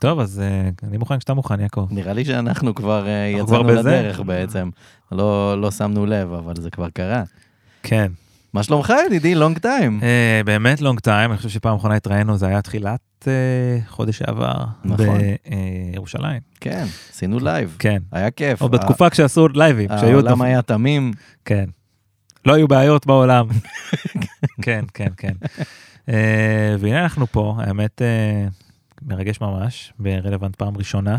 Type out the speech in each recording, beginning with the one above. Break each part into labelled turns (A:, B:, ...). A: טוב, אז uh, אני מוכן כשאתה מוכן, יעקב.
B: נראה לי שאנחנו כבר אה,
A: אנחנו
B: יצאנו
A: כבר בזה?
B: לדרך בעצם. לא, לא שמנו לב, אבל זה כבר קרה.
A: כן.
B: מה שלומך, ידידי? לונג טיים.
A: Uh, באמת לונג טיים, אני חושב שפעם אחרונה התראינו, זה היה תחילת uh, חודש שעבר.
B: נכון.
A: בירושלים.
B: כן, עשינו לייב.
A: כן.
B: היה כיף.
A: או בתקופה כשעשו לייבים,
B: ה-
A: כשהיו...
B: העולם
A: דף-
B: היה תמים.
A: כן. לא היו בעיות בעולם. כן, כן, כן. אה, והנה אנחנו פה, האמת, אה, מרגש ממש, ברלוונט פעם ראשונה.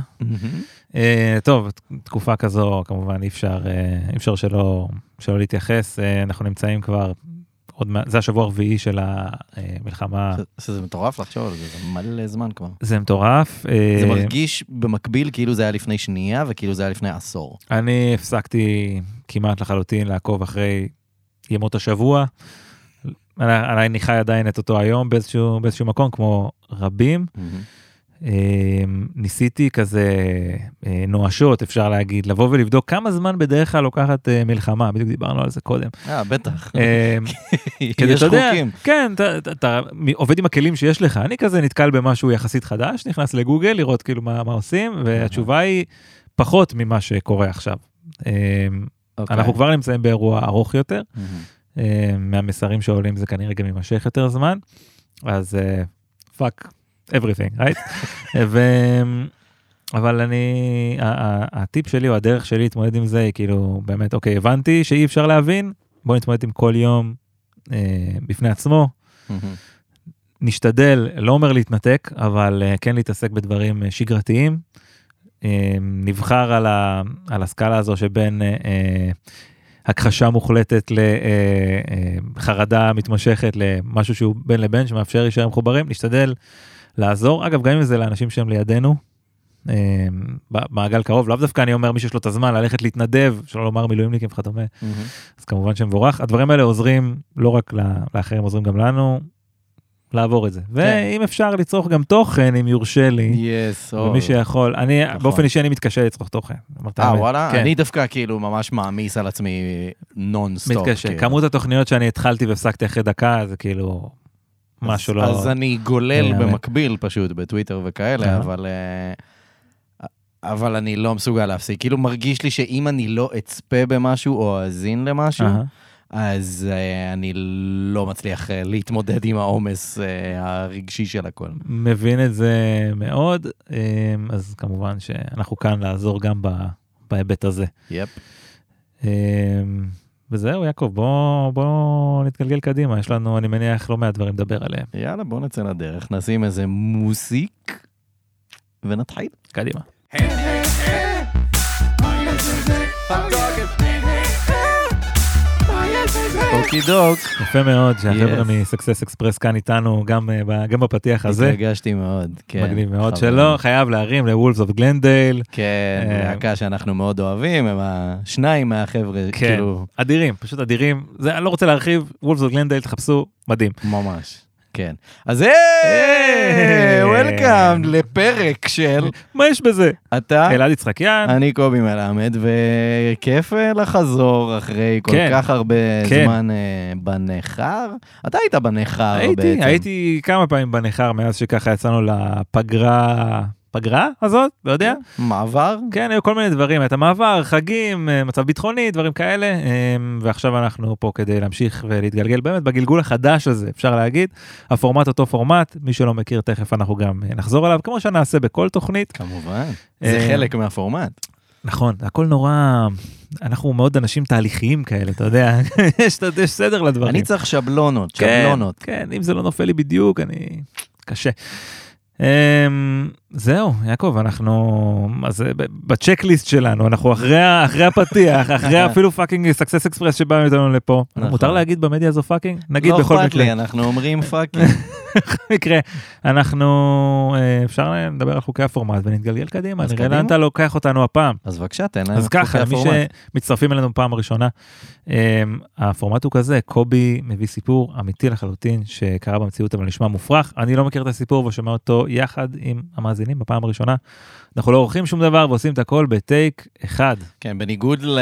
A: אה, טוב, ת- תקופה כזו, כמובן, אי אפשר, אה, אי אפשר שלא, שלא להתייחס. אה, אנחנו נמצאים כבר, עוד מעט, זה השבוע הרביעי של המלחמה.
B: ש- שזה מטורף לחשוב על זה, זה מלא זמן כבר.
A: זה מטורף.
B: זה
A: אה,
B: מרגיש במקביל כאילו זה היה לפני שנייה וכאילו זה היה לפני עשור.
A: אני הפסקתי כמעט לחלוטין לעקוב אחרי ימות השבוע. עליי אני חי עדיין את אותו היום באיזשהו, באיזשהו מקום, כמו רבים. אה, ניסיתי כזה אה, נואשות, אפשר להגיד, לבוא ולבדוק כמה זמן בדרך כלל לוקחת אה, מלחמה, בדיוק דיברנו על זה קודם.
B: אה, בטח.
A: אה, כדי,
B: יש
A: אתה יודע,
B: חוקים.
A: כן, אתה, אתה, אתה עובד עם הכלים שיש לך. אני כזה נתקל במשהו יחסית חדש, נכנס לגוגל לראות כאילו מה, מה עושים, והתשובה היא פחות ממה שקורה עכשיו. אה,
B: אוקיי.
A: אנחנו כבר נמצאים באירוע ארוך יותר,
B: מהמם.
A: אה, מהמסרים שעולים זה כנראה גם יימשך יותר זמן, אז פאק, everything, right? ו... אבל אני, ה- ה- הטיפ שלי או הדרך שלי להתמודד עם זה היא כאילו באמת, אוקיי, הבנתי שאי אפשר להבין, בוא נתמודד עם כל יום אה, בפני עצמו.
B: מהמם.
A: נשתדל, לא אומר להתנתק, אבל אה, כן להתעסק בדברים אה, שגרתיים. אה, נבחר על, ה, על הסקאלה הזו שבין אה, אה, הכחשה מוחלטת לחרדה מתמשכת למשהו שהוא בין לבין שמאפשר להישאר מחוברים, נשתדל לעזור. אגב, גם אם זה לאנשים שהם לידינו, אה, במעגל קרוב, לאו דווקא אני אומר מי שיש לו את הזמן ללכת להתנדב, שלא לומר מילואימניקים וכדומה,
B: מהמם.
A: אז כמובן שמבורך. הדברים האלה עוזרים לא רק ל- לאחרים, עוזרים גם לנו לעבור
B: כן.
A: את זה. ואם אפשר לצרוך גם תוכן, אם יורשה לי,
B: יס, או.
A: ומי שיכול, אני
B: נכון.
A: באופן אישי אני מתקשה לצרוך תוכן. אמרת
B: oh. אה,
A: האמת.
B: וואלה?
A: כן.
B: אני דווקא כאילו ממש מעמיס על עצמי נונסטופ.
A: מתקשה.
B: כאילו.
A: כמות התוכניות שאני התחלתי והפסקתי אחרי דקה, זה כאילו משהו
B: אז-
A: לא...
B: אז אני גולל
A: ייאמן.
B: במקביל פשוט בטוויטר
A: אה.
B: וכאלה, אבל... אה, אבל אני לא מסוגל להפסיק. כאילו מרגיש לי שאם אני לא אצפה במשהו או אאזין למשהו,
A: אהה.
B: אז אה, אני לא מצליח אה, להתמודד עם העומס אה, הרגשי של הכל.
A: מבין את זה מאוד, אה, אז כמובן שאנחנו כאן לעזור גם ב- בהיבט הזה.
B: יפ.
A: אה, וזהו, יעקב, בוא, בוא נתגלגל קדימה, יש לנו, אני מניח, לא מעט דברים לדבר עליהם.
B: יאללה, בוא נצא לדרך, נשים איזה מוסיק ונתחיל.
A: קדימה.
B: אוקי דוק.
A: יפה מאוד שהחבר'ה
B: Yes.
A: מסקסס אקספרס כאן איתנו גם, אה, ב- גם בפתיח הזה.
B: התרגשתי מאוד, כן.
A: מגניב מאוד
B: חברים.
A: שלא, חייב להרים לוולפס אוף גלנדייל.
B: כן,
A: אה,
B: להקה שאנחנו מאוד אוהבים, הם השניים מהחבר'ה,
A: כן.
B: כאילו,
A: אדירים, פשוט אדירים. זה, אני לא רוצה להרחיב, וולפס אוף גלנדייל, תחפשו, מדהים.
B: ממש. כן. אז היי, וולקאם לפרק של
A: מה יש בזה?
B: אתה,
A: אלעד יצחקיאן,
B: אני קובי מלמד, וכיף אה, לחזור אחרי כל
A: כן.
B: כך הרבה
A: כן.
B: זמן אה, בניכר. אתה היית בניכר בעצם.
A: הייתי, הייתי כמה פעמים בניכר מאז שככה יצאנו לפגרה, פגרה הזאת, לא יודע.
B: מעבר?
A: כן, היו כל מיני דברים, את המעבר, חגים, אה, מצב ביטחוני, דברים כאלה, אה, ועכשיו אנחנו פה כדי להמשיך ולהתגלגל באמת בגלגול החדש הזה, אפשר להגיד. הפורמט אותו פורמט, מי שלא מכיר, תכף אנחנו גם אה, נחזור אליו, כמו שנעשה בכל תוכנית.
B: כמובן.
A: אה,
B: זה חלק מהפורמט.
A: נכון, הכל נורא, אנחנו מאוד אנשים תהליכיים כאלה, אתה יודע, יש, יש סדר לדברים.
B: אני צריך שבלונות,
A: כן,
B: שבלונות.
A: כן, אם זה לא נופל לי בדיוק, אני... קשה. אמ, זהו, יעקב, אנחנו... אז אה, ב- בצ'קליסט שלנו, אנחנו אחרי, ה- אחרי הפתיח, אחרי אפילו פאקינג סקסס אקספרס שבא איתנו לפה.
B: נכון.
A: מותר להגיד במדיה הזו פאקינג? נגיד
B: לא
A: בכל
B: אכפת
A: מקרה.
B: לי, אנחנו אומרים פאקינג.
A: מקרה, אנחנו... אה, אפשר לדבר על חוקי הפורמט ונתגלגל קדימה,
B: אז
A: נראה
B: קדימה.
A: לאן אתה לוקח אותנו הפעם.
B: אז בבקשה, תן להם
A: אז
B: את חוקי
A: ככה, למי
B: הפורמט.
A: שמצטרפים אלינו פעם ראשונה, אמ, הפורמט הוא כזה, קובי מביא סיפור אמיתי לחלוטין שקרה במציאות אבל נשמע מופרך. אני לא מכיר את הסיפור ושומע אותו יחד עם המאזינים בפעם הראשונה. אנחנו לא עורכים שום דבר ועושים את הכל בטייק אחד.
B: כן, בניגוד ל-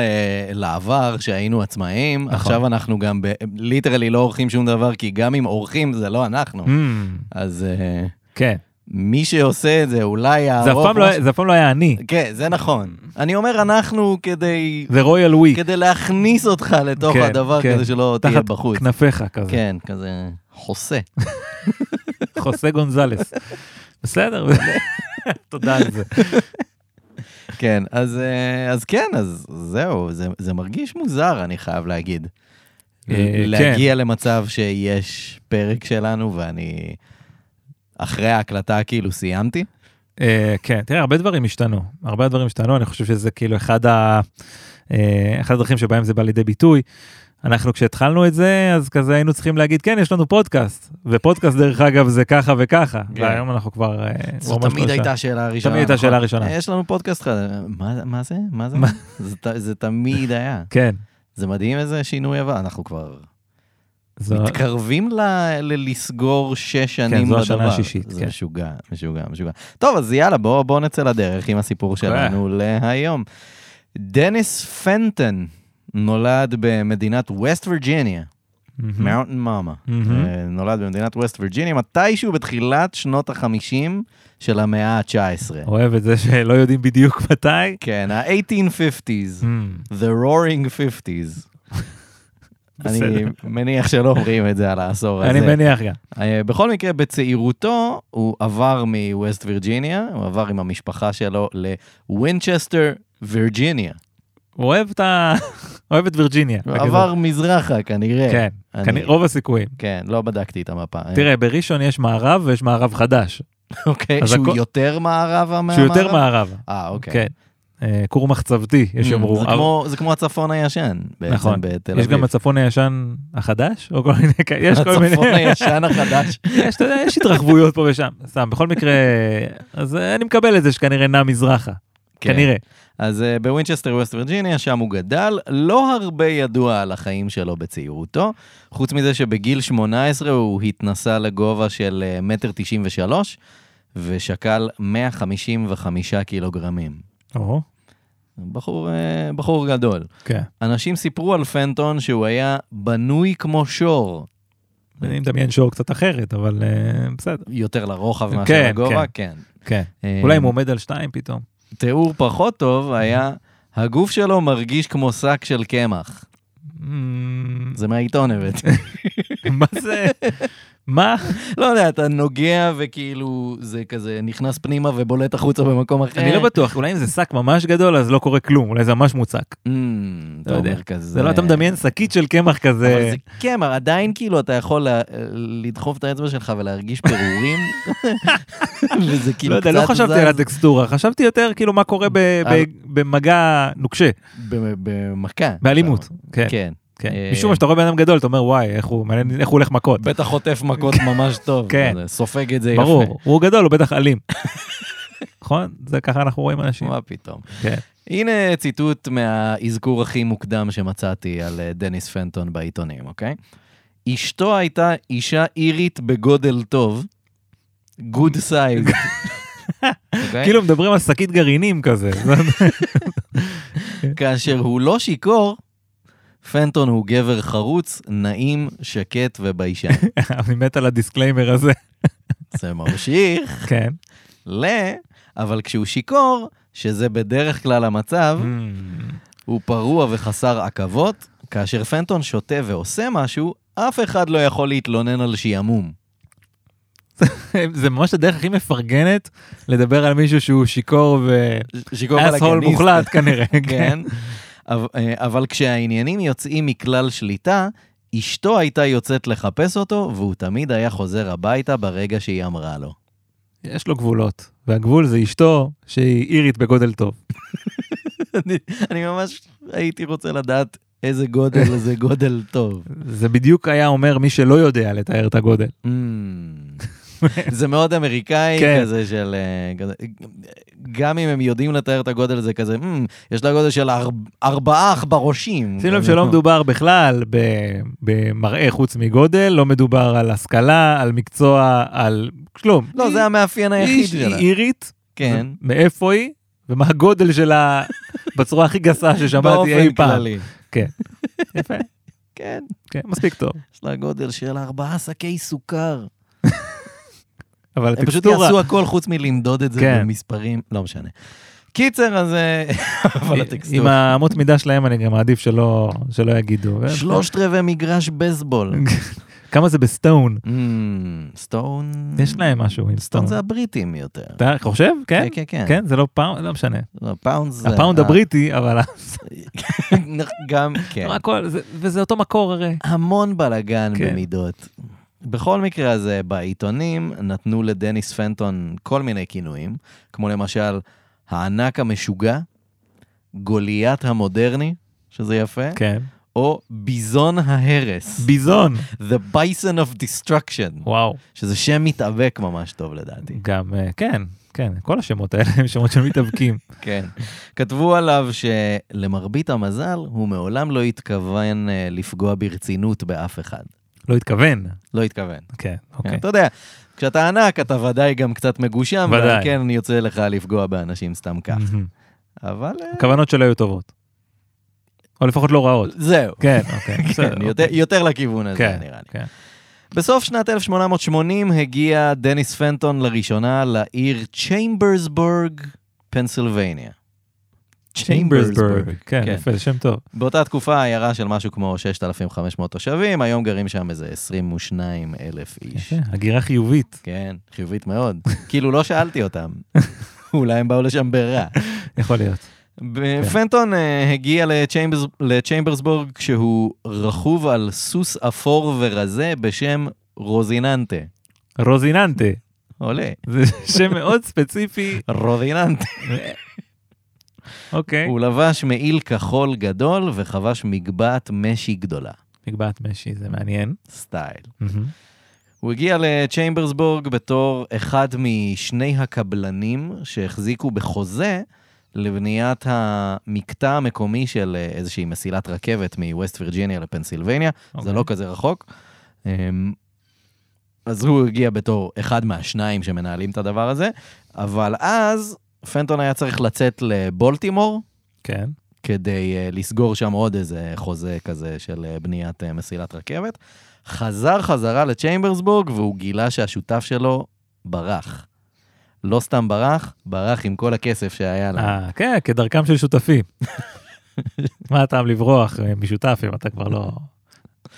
B: לעבר שהיינו עצמאים,
A: נכון.
B: עכשיו אנחנו גם ב- ליטרלי לא עורכים שום דבר, כי גם אם עורכים זה לא אנחנו.
A: אמ,
B: אז אה,
A: כן,
B: מי שעושה את זה אולי
A: זה אף
B: יערוך...
A: פעם לא היה-
B: משהו-
A: זה אף פעם לא היה אני,
B: כן, זה נכון. אני אומר אנחנו כדי...
A: זה רויאל ווי,
B: כדי להכניס אותך לתוך
A: כן,
B: הדבר
A: כן.
B: כזה שלא לא תהיה
A: תחת
B: בחוץ.
A: כנפיך כזה.
B: כן, כזה חוסה.
A: חוסה גונזלס. בסדר, תודה על זה.
B: כן, אז, אה, אז כן, אז זהו, זה, זה מרגיש מוזר, אני חייב להגיד.
A: אה,
B: להגיע למצב שיש פרק שלנו ואני אחרי ההקלטה כאילו סיימתי.
A: אה, כן, תראה, הרבה דברים השתנו, הרבה הדברים השתנו, אני חושב שזה כאילו אחד ה... אה, אחת הדרכים שבהם זה בא לידי ביטוי. אנחנו כשהתחלנו את זה, אז כזה היינו צריכים להגיד, כן, יש לנו פודקאסט, ופודקאסט דרך אגב זה ככה וככה,
B: כן.
A: והיום אנחנו כבר... אה,
B: זו
A: ממש
B: תמיד
A: לא
B: הייתה השאלה הראשונה.
A: תמיד הייתה
B: נכון?
A: השאלה הראשונה.
B: יש לנו פודקאסט חדש. מה, מה זה? מה זה?
A: מה?
B: זה, ת- זה תמיד היה.
A: שם. כן,
B: זה מדהים איזה שינוי עבר. אנחנו כבר
A: זו...
B: מתקרבים ל, ללסגור שש שנים
A: כן, זו
B: בדבר.
A: השנה השישית,
B: זה
A: כן.
B: משוגע, משוגע, משוגע. טוב, אז יאללה, בואו בוא נצא לדרך עם
A: כן.
B: הסיפור שלנו להיום. דניס פנטון נולד במדינת ווסט וירג'יניה,
A: מהמם.
B: מאונטן מאמה.
A: מהמם.
B: אה, נולד במדינת ווסט וירג'יניה מתישהו בתחילת שנות החמישים של המאה ה-19.
A: אוהב את זה שלא יודעים בדיוק מתי. Mm.
B: כן, ה-1850's,
A: מהמם.
B: The Roaring 50's. אני
A: בסדר.
B: מניח שלא אומרים את זה על העשור הזה.
A: אני מניח גם.
B: אה, בכל מקרה, בצעירותו הוא עבר מווסט וירג'יניה, הוא עבר עם המשפחה שלו לווינצ'סטר, וירג'יניה.
A: הוא אוהב את ה... אוהב את וירג'יניה.
B: הוא עבר מזרחה כנראה.
A: כן,
B: אני-
A: כנראה- רוב הסיכויים.
B: כן, לא בדקתי את המפה.
A: תראה, בראשון יש מערב ויש מערב חדש,
B: אוקיי,
A: אז
B: שהוא
A: הכל-
B: יותר מערבה מהמערב?
A: שהוא יותר מערבה.
B: אה, אוקיי.
A: כן. אה, כור מחצבתי, יש
B: Mm,
A: שיאמרו.
B: זה
A: אבל-
B: כמו- זה כמו הצפון הישן,
A: נכון.
B: בעצם, בתל אביב.
A: יש גם הצפון הישן החדש, או כל מיני כאלה, יש כל מיני,
B: הצפון הישן החדש.
A: יש, אתה יודע, יש התרחבויות פה ושם, סתם, בכל מקרה, אז אה, אני מקבל את זה שכנראה נע מזרחה,
B: כן.
A: כנראה.
B: אז אה, בווינצ'סטר ווסט וירג'יניה, שם הוא גדל, לא הרבה ידוע על החיים שלו בצעירותו, חוץ מזה שבגיל 18 הוא התנסה לגובה של אה, מטר 93 ושקל 155 קילוגרמים.
A: או,
B: בחור, אה, בחור גדול.
A: כן.
B: אנשים סיפרו על פנטון שהוא היה בנוי כמו שור,
A: אני מדמיין שור קצת אחרת, אבל אה, בסדר.
B: יותר לרוחב מאשר
A: כן,
B: לגובה, כן.
A: כן.
B: אה,
A: אולי אם הוא עומד על שתיים פתאום.
B: תיאור פחות טוב היה, הגוף שלו מרגיש כמו שק של קמח.
A: אמ,
B: זה מהעיתון הבאתי.
A: Mm, מה זה? מה?
B: לא יודע, אתה נוגע וכאילו זה כזה נכנס פנימה ובולט החוצה במקום אחר.
A: אני לא בטוח, אולי אם זה שק ממש גדול, אז לא קורה כלום, אולי זה ממש מוצק.
B: Mm,
A: לא
B: אתה
A: יודע.
B: אומר כזה.
A: זה לא, אתה מדמיין שקית של קמח
B: אבל
A: כזה.
B: זה קמר, עדיין כאילו אתה יכול לה- לדחוף את האצבע שלך ולהרגיש פירורים. וזה כאילו
A: לא יודע, לא
B: קצת
A: חשבתי
B: זז
A: על הטקסטורה, חשבתי יותר כאילו מה קורה ב- ב-
B: על-
A: במגע נוקשה,
B: ב- במכה.
A: באלימות. כן,
B: כן.
A: כן.
B: אה,
A: משום מה שאתה רואה בן אדם גדול, אתה אומר וואי, איך הוא מעניין, איך הוא הולך מכות.
B: בטח חוטף מכות ממש טוב.
A: כן.
B: כזה, סופג את זה יפה.
A: ברור, הוא גדול, הוא בטח אלים. נכון? זה ככה אנחנו רואים אנשים.
B: מה פתאום.
A: כן.
B: הנה ציטוט מהאזכור הכי מוקדם שמצאתי על אה, דניס פנטון בעיתונים, אוקיי? אשתו הייתה אישה אירית בגודל טוב, גוד סייז.
A: כאילו מדברים על שקית גרעינים כזה.
B: כאשר הוא לא שיכור, פנטון הוא גבר חרוץ, נעים, שקט וביישן.
A: אני מת על הדיסקליימר הזה.
B: זה ממשיך
A: כן.
B: ל... אבל כשהוא שיכור, שזה בדרך כלל
A: Mm.
B: המצב, הוא פרוע וחסר עכבות, כאשר פנטון שותה ועושה משהו, אף אחד לא יכול להתלונן על שעמום.
A: זה ממש הדרך הכי מפרגנת לדבר על מישהו שהוא שיכור ו...
B: שיגור
A: אסהול מוחלט כנראה.
B: כן. אבל- אה, אבל כשהעניינים יוצאים מכלל שליטה, אשתו הייתה יוצאת לחפש אותו, והוא תמיד היה חוזר הביתה ברגע שהיא אמרה לו.
A: יש לו גבולות, והגבול זה אשתו שהיא אירית בגודל טוב.
B: אני- אני ממש הייתי רוצה לדעת איזה גודל זה גודל טוב.
A: זה בדיוק היה אומר מי שלא יודע לתאר את הגודל.
B: Mm. זה מאוד אמריקאי
A: כן.
B: כזה של... אה, כזה- גם אם הם יודעים לתאר את הגודל זה כזה, "מ, יש לה גודל של ארבע- ארבעה עכברושים.
A: שים לב
B: כזה.
A: שלא מדובר בכלל ב- במראה חוץ מגודל, לא מדובר על השכלה, על מקצוע, על כלום.
B: לא, זה המאפיין
A: היא-
B: היחיד
A: היא-
B: שלה.
A: היא אירית,
B: כן.
A: מאיפה היא, ומה הגודל שלה בצורה הכי גסה ששמעתי אי פעם. כן. יפה,
B: כן,
A: כן, מספיק טוב.
B: יש לה גודל של ארבעה שקי סוכר.
A: אבל
B: הם פשוט
A: הטקסטורה...
B: יעשו הכל חוץ מלמדוד את זה
A: כן.
B: במספרים, לא משנה. קיצר, אז... אה, אבל הטקסטור.
A: עם האמות מידה שלהם אני גם מעדיף שלא, שלא יגידו.
B: שלושת רבעי מגרש בייסבול.
A: כן. כמה זה בסטון?
B: אמ, סטון...
A: יש להם משהו עם סטון.
B: סטון זה הבריטים יותר.
A: אתה חושב? כן?
B: כן, כן.
A: כן, זה לא פאונד, לא משנה.
B: לא, פאונד זה...
A: הפאונד
B: אה,
A: הבריטי, אבל
B: גם, כן.
A: הכל, זה- וזה אותו מקור הרי.
B: המון בלאגן
A: כן.
B: במידות. בכל מקרה, אז אה, בעיתונים נתנו לדניס פנטון כל מיני כינויים, כמו למשל, הענק המשוגע, גוליית המודרני, שזה יפה,
A: כן.
B: או ביזון ההרס,
A: ביזון.
B: The Bison of Destruction,
A: וואו.
B: שזה שם מתאבק ממש טוב לדעתי.
A: גם, אה, כן, כן, כל השמות האלה הם שמות של מתאבקים.
B: כן. כתבו עליו שלמרבית המזל, הוא מעולם לא התכוון אה, לפגוע ברצינות באף אחד.
A: לא התכוון.
B: לא התכוון.
A: כן,
B: כן,
A: אוקיי.
B: אתה יודע, כשאתה ענק אתה ודאי גם קצת מגושם,
A: ודאי.
B: ועל כן יוצא לך לפגוע באנשים סתם כך.
A: מהמם. Mm.
B: אבל אה,
A: הכוונות שלו היו טובות. או לפחות לא רעות.
B: זהו.
A: כן, אוקיי. בסדר,
B: כן, יותר- יותר לכיוון הזה,
A: כן,
B: נראה לי.
A: כן.
B: בסוף שנת 1880 הגיע דניס פנטון לראשונה לעיר צ'יימברסבורג, פנסילבניה.
A: צ'יימברסברג. כן,
B: כן.
A: יפה, זה שם טוב.
B: באותה תקופה עיירה של משהו כמו 6,500 תושבים, היום גרים שם איזה 22 אלף איש.
A: יפה, אה, הגירה חיובית.
B: כן, חיובית מאוד. כאילו לא שאלתי אותם, אולי הם באו לשם ברע.
A: יכול להיות.
B: ב- פנטון אה, הגיע לצ'יימברס- לצ'יימברסבורג כשהוא רכוב על סוס אפור ורזה בשם רוזיננטה.
A: רוזיננטה.
B: עולה.
A: זה שם מאוד ספציפי.
B: רוזיננטה.
A: אוקיי.
B: הוא לבש מעיל כחול גדול וחבש מגבעת משי גדולה.
A: מגבעת משי, זה מעניין.
B: סטייל.
A: מהמם.
B: הוא הגיע לצ'יימברסבורג בתור אחד משני הקבלנים שהחזיקו בחוזה לבניית המקטע המקומי של אה, איזושהי מסילת רכבת מווסט וירג'יניה לפנסילבניה, okay. זה
A: אוקיי.
B: לא כזה רחוק. אמ, אז הוא הגיע בתור אחד מהשניים שמנהלים את הדבר הזה, אבל אז פנטון היה צריך לצאת לבולטימור
A: כן.
B: כדי אה, לסגור שם עוד איזה חוזה כזה של אה, בניית אה, מסילת רכבת. חזר חזרה לצ'יימברסבורג והוא גילה שהשותף שלו ברח. לא סתם ברח, ברח עם כל הכסף שהיה לו.
A: אה, כן, כדרכם של שותפים. מה הטעם לברוח אה, משותף אם אתה כבר לא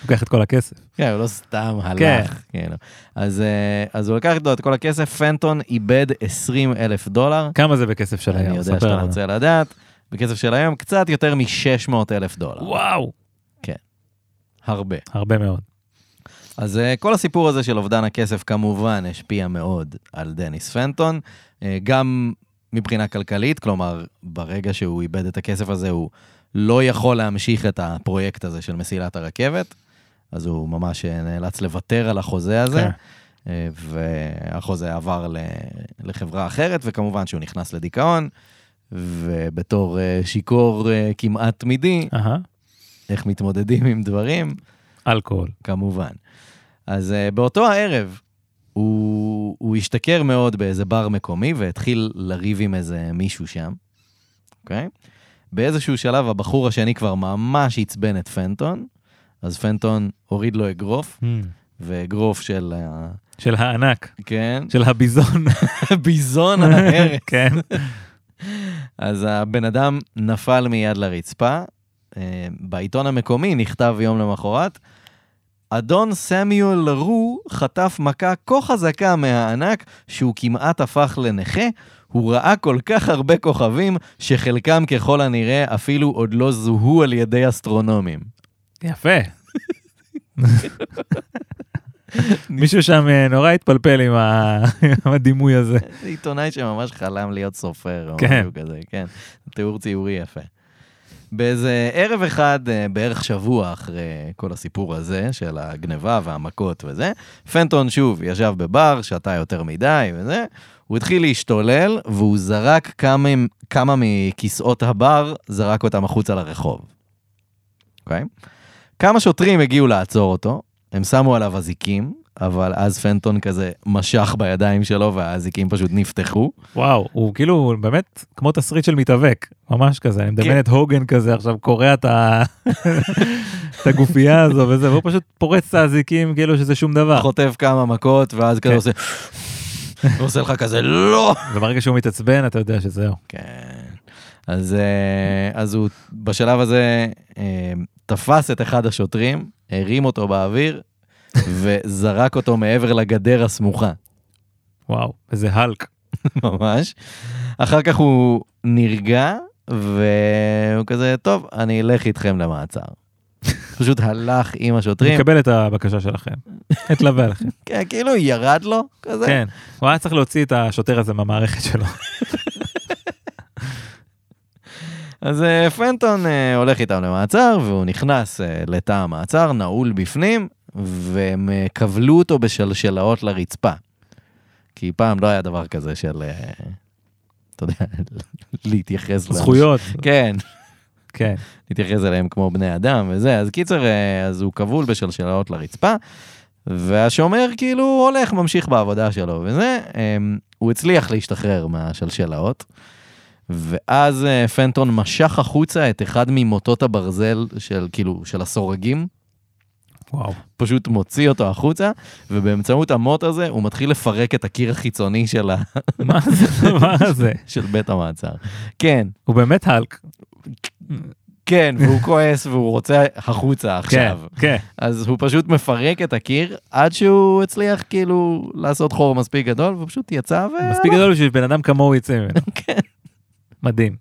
A: לוקח את כל הכסף?
B: כן, הוא לא סתם
A: כן.
B: הלך. כן. אז, אה, אז הוא לקח איתו את כל הכסף, פנטון איבד 20 אלף דולר.
A: כמה זה בכסף של היום?
B: אני יודע
A: ספר
B: שאתה
A: לנו.
B: רוצה לדעת. בכסף של היום, קצת יותר מ-600 אלף דולר.
A: וואו,
B: הרבה.
A: הרבה מאוד.
B: אז אה, כל הסיפור הזה של אובדן הכסף כמובן השפיע מאוד על דניס פנטון, אה, גם מבחינה כלכלית, כלומר, ברגע שהוא איבד את הכסף הזה, הוא לא יכול להמשיך את הפרויקט הזה של מסילת הרכבת, אז הוא ממש אה, נאלץ לוותר על החוזה הזה,
A: כן.
B: אה, והחוזה עבר ל- לחברה אחרת, וכמובן שהוא נכנס לדיכאון, ובתור אה, שיכור אה, כמעט תמידי,
A: אהה,
B: איך מתמודדים עם דברים.
A: אלכוהול.
B: כמובן. אז uh, באותו הערב, הוא, הוא השתכר מאוד באיזה בר מקומי והתחיל לריב עם איזה מישהו שם, אוקיי? באיזשהו שלב הבחור השני כבר ממש עצבן את פנטון, אז פנטון הוריד לו אגרוף, ואגרוף של, ה-
A: של הענק,
B: כן,
A: של הביזון.
B: ביזון ההרס.
A: כן.
B: אז הבן אדם נפל מיד לרצפה. אה, בעיתון המקומי נכתב יום למחרת, אדון סמיול לרו חטף מכה כה חזקה מהענק שהוא כמעט הפך לנכה. הוא ראה כל כך הרבה כוכבים, שחלקם ככל הנראה אפילו עוד לא זוהו על ידי אסטרונומים.
A: יפה. מישהו שם אה, נורא התפלפל עם ה- עם הדימוי הזה.
B: זה עיתונאי שממש חלם להיות סופר או
A: כן.
B: משהו כזה, כן. תיאור ציורי יפה. באיזה ערב אחד, אה, בערך שבוע אחרי כל הסיפור הזה של הגניבה והמכות וזה, פנטון שוב ישב בבר, שתה יותר מדי וזה, הוא התחיל להשתולל והוא זרק כמה, כמה מכיסאות הבר, זרק אותם החוצה לרחוב. אוקיי? כמה שוטרים הגיעו לעצור אותו, הם שמו עליו אזיקים, אבל אז פנטון כזה משך בידיים שלו והאזיקים פשוט נפתחו.
A: וואו, הוא כאילו באמת כמו תסריט של מתאבק, ממש כזה, אני מדמיין את הוגן כזה עכשיו קורע את ה- את הגופייה הזו
B: נכון.
A: וזה, והוא פשוט פורץ את האזיקים כאילו שזה שום דבר.
B: חוטף כמה מכות, ואז כזה
A: כן.
B: עושה... ועושה לך כזה לא.
A: וברגע שהוא מתעצבן אתה יודע שזהו.
B: כן. אז, אה, אז הוא בשלב הזה אה, תפס את אחד השוטרים, הרים אותו באוויר, וזרק אותו מעבר לגדר הסמוכה,
A: וואו, איזה האלק.
B: ממש. אחר כך הוא נרגע, והוא כזה, טוב, אני אלך איתכם למעצר. פשוט הלך עם
A: אני
B: השוטרים,
A: מקבל את הבקשה שלכם. אתלווה לכם.
B: כן, כאילו ירד לו, כזה.
A: כן, הוא היה צריך להוציא את השוטר הזה מהמערכת שלו.
B: אז אה, פנטון אה, הולך איתם למעצר, והוא נכנס אה, לתא המעצר, נעול בפנים, והם אה, כבלו אותו בשלשלאות לרצפה. כי פעם לא היה דבר כזה של, אה, אתה יודע, להתייחס לאנשים.
A: זכויות,
B: כן,
A: כן.
B: להתייחס אליהם כמו בני אדם וזה. אז קיצר, אה, אז הוא כבול בשלשלאות לרצפה, והשומר כאילו הולך, ממשיך בעבודה שלו וזה. אה, הוא הצליח להשתחרר מהשלשלאות, ואז אה, פנטון משך החוצה את אחד ממוטות הברזל של כאילו, של הסורגים.
A: וואו.
B: פשוט מוציא אותו החוצה, ובאמצעות המוט הזה הוא מתחיל לפרק את הקיר החיצוני של, ה...
A: מה זה הדבר הזה?
B: של בית המעצר. כן,
A: הוא באמת האלק.
B: כן, והוא כועס והוא רוצה החוצה
A: כן,
B: עכשיו.
A: כן.
B: אז הוא פשוט מפרק את הקיר עד שהוא הצליח כאילו לעשות חור מספיק גדול, והוא פשוט יצא והלך.
A: מספיק גדול בשביל בן אדם כמוהו יצא ממנו.
B: כן,
A: מדהים.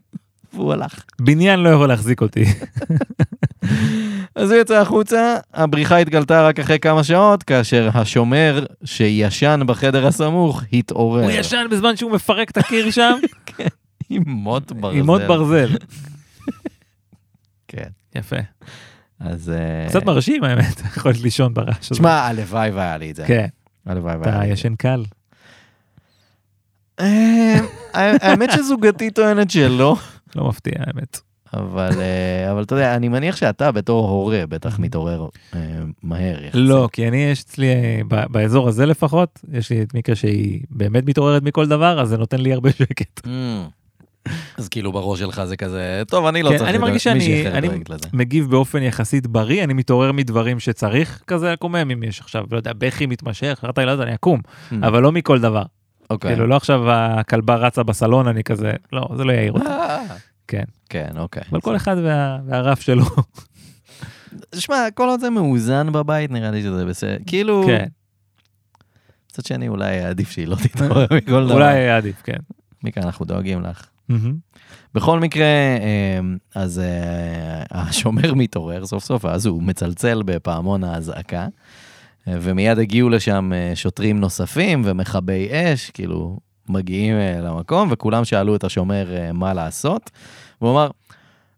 B: והוא הלך.
A: בניין לא יכול להחזיק אותי.
B: אז הוא יצא החוצה, הבריחה התגלתה רק אחרי כמה שעות, כאשר השומר שישן בחדר הסמוך התעורר.
A: הוא ישן בזמן שהוא מפרק את הקיר שם
B: עם מוט ברזל.
A: עם עוד ברזל.
B: כן.
A: יפה.
B: אז... אה,
A: קצת מרשים האמת, יכול להיות לישון ברעש הזה.
B: תשמע, הלוואי והיה לי את זה.
A: כן,
B: הלוואי והיה
A: אתה
B: לי את זה.
A: ישן קל.
B: אה, האמת שזוגתי טוענת שלא.
A: לא מפתיע האמת.
B: אבל, אה, אבל אתה יודע, אני מניח שאתה בתור הורה בטח מתעורר אה, מהר. יחסית.
A: לא, כי אני יש אצלי, אה, ב- באזור הזה לפחות, יש לי את מיקה שהיא באמת מתעוררת מכל דבר, אז זה נותן לי הרבה שקט.
B: Mm. אז כאילו בראש שלך זה כזה, טוב, אני לא
A: כן,
B: צריך
A: אני מרגיש
B: לדאוג-
A: שאני-
B: מישהי אחרת
A: אני-
B: דואגת לזה.
A: מגיב באופן יחסית בריא, אני מתעורר מדברים שצריך כזה לקומם, אם יש עכשיו, לא יודע, בכי מתמשך, אחרת הילד אני אקום,
B: Mm.
A: אבל לא מכל דבר.
B: אוקיי.
A: כאילו, לא עכשיו הכלבה רצה בסלון, אני כזה, לא, זה לא יעיר אותי.
B: אה,
A: כן.
B: כן, אוקיי.
A: אבל כל אחד וה- והרף שלו.
B: שמע, כל עוד זה מאוזן בבית, נראה לי שזה בסדר. כאילו,
A: כן,
B: מצד שני, אולי עדיף שהיא לא תתעורר מכל דבר.
A: אולי היה עדיף, כן.
B: מכאן אנחנו דואגים לך.
A: מהמם.
B: בכל מקרה, אה, אז אה, השומר מתעורר סוף סוף, אז הוא מצלצל בפעמון האזעקה, אה, ומיד הגיעו לשם אה, שוטרים נוספים ומכבי אש, כאילו, מגיעים אה, למקום, וכולם שאלו את השומר אה, מה לעשות, והוא אמר,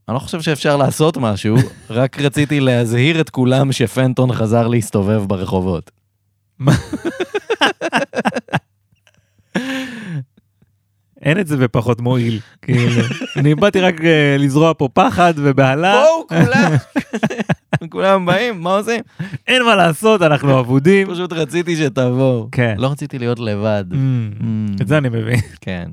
B: אני לא חושב שאפשר לעשות משהו, רק רציתי להזהיר את כולם שפנטון חזר להסתובב ברחובות.
A: אין את זה בפחות מועיל, כאילו. אני באתי רק אה, לזרוע פה פחד ובהלה,
B: בואו, כולם! כולם באים, מה עושים?
A: אין מה לעשות, אנחנו אבודים.
B: פשוט רציתי שתבואו.
A: כן.
B: לא רציתי להיות לבד.
A: Mm, את זה אני מבין.
B: כן.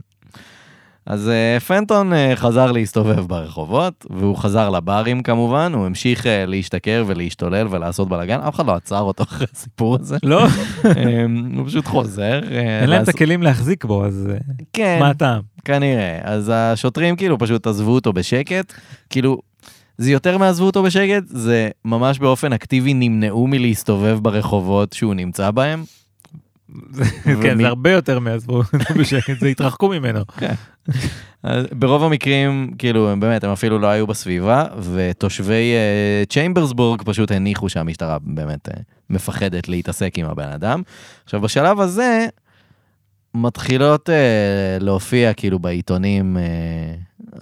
B: אז אה, פנטון אה, חזר להסתובב ברחובות, והוא חזר לברים כמובן, הוא המשיך אה, להשתכר ולהשתולל ולעשות בלאגן, אף אחד לא עצר אותו אחרי הסיפור הזה.
A: לא,
B: אה, הוא פשוט חוזר. אה,
A: אין להם את
B: לעשות-
A: הכלים להחזיק בו, אז אה,
B: כן,
A: מה הטעם?
B: כנראה. אז השוטרים כאילו פשוט עזבו אותו בשקט, כאילו... זה יותר מעזבו אותו בשקט, זה ממש באופן אקטיבי נמנעו מלהסתובב ברחובות שהוא נמצא בהם.
A: כן,
B: ומי-
A: זה הרבה יותר מעזבו, בשקט, זה התרחקו ממנו.
B: אז ברוב המקרים, כאילו, הם באמת, הם אפילו לא היו בסביבה, ותושבי אה, צ'יימברסבורג פשוט הניחו שהמשטרה באמת אה, מפחדת להתעסק עם הבן אדם. עכשיו, בשלב הזה, מתחילות אה, להופיע, כאילו, בעיתונים אה,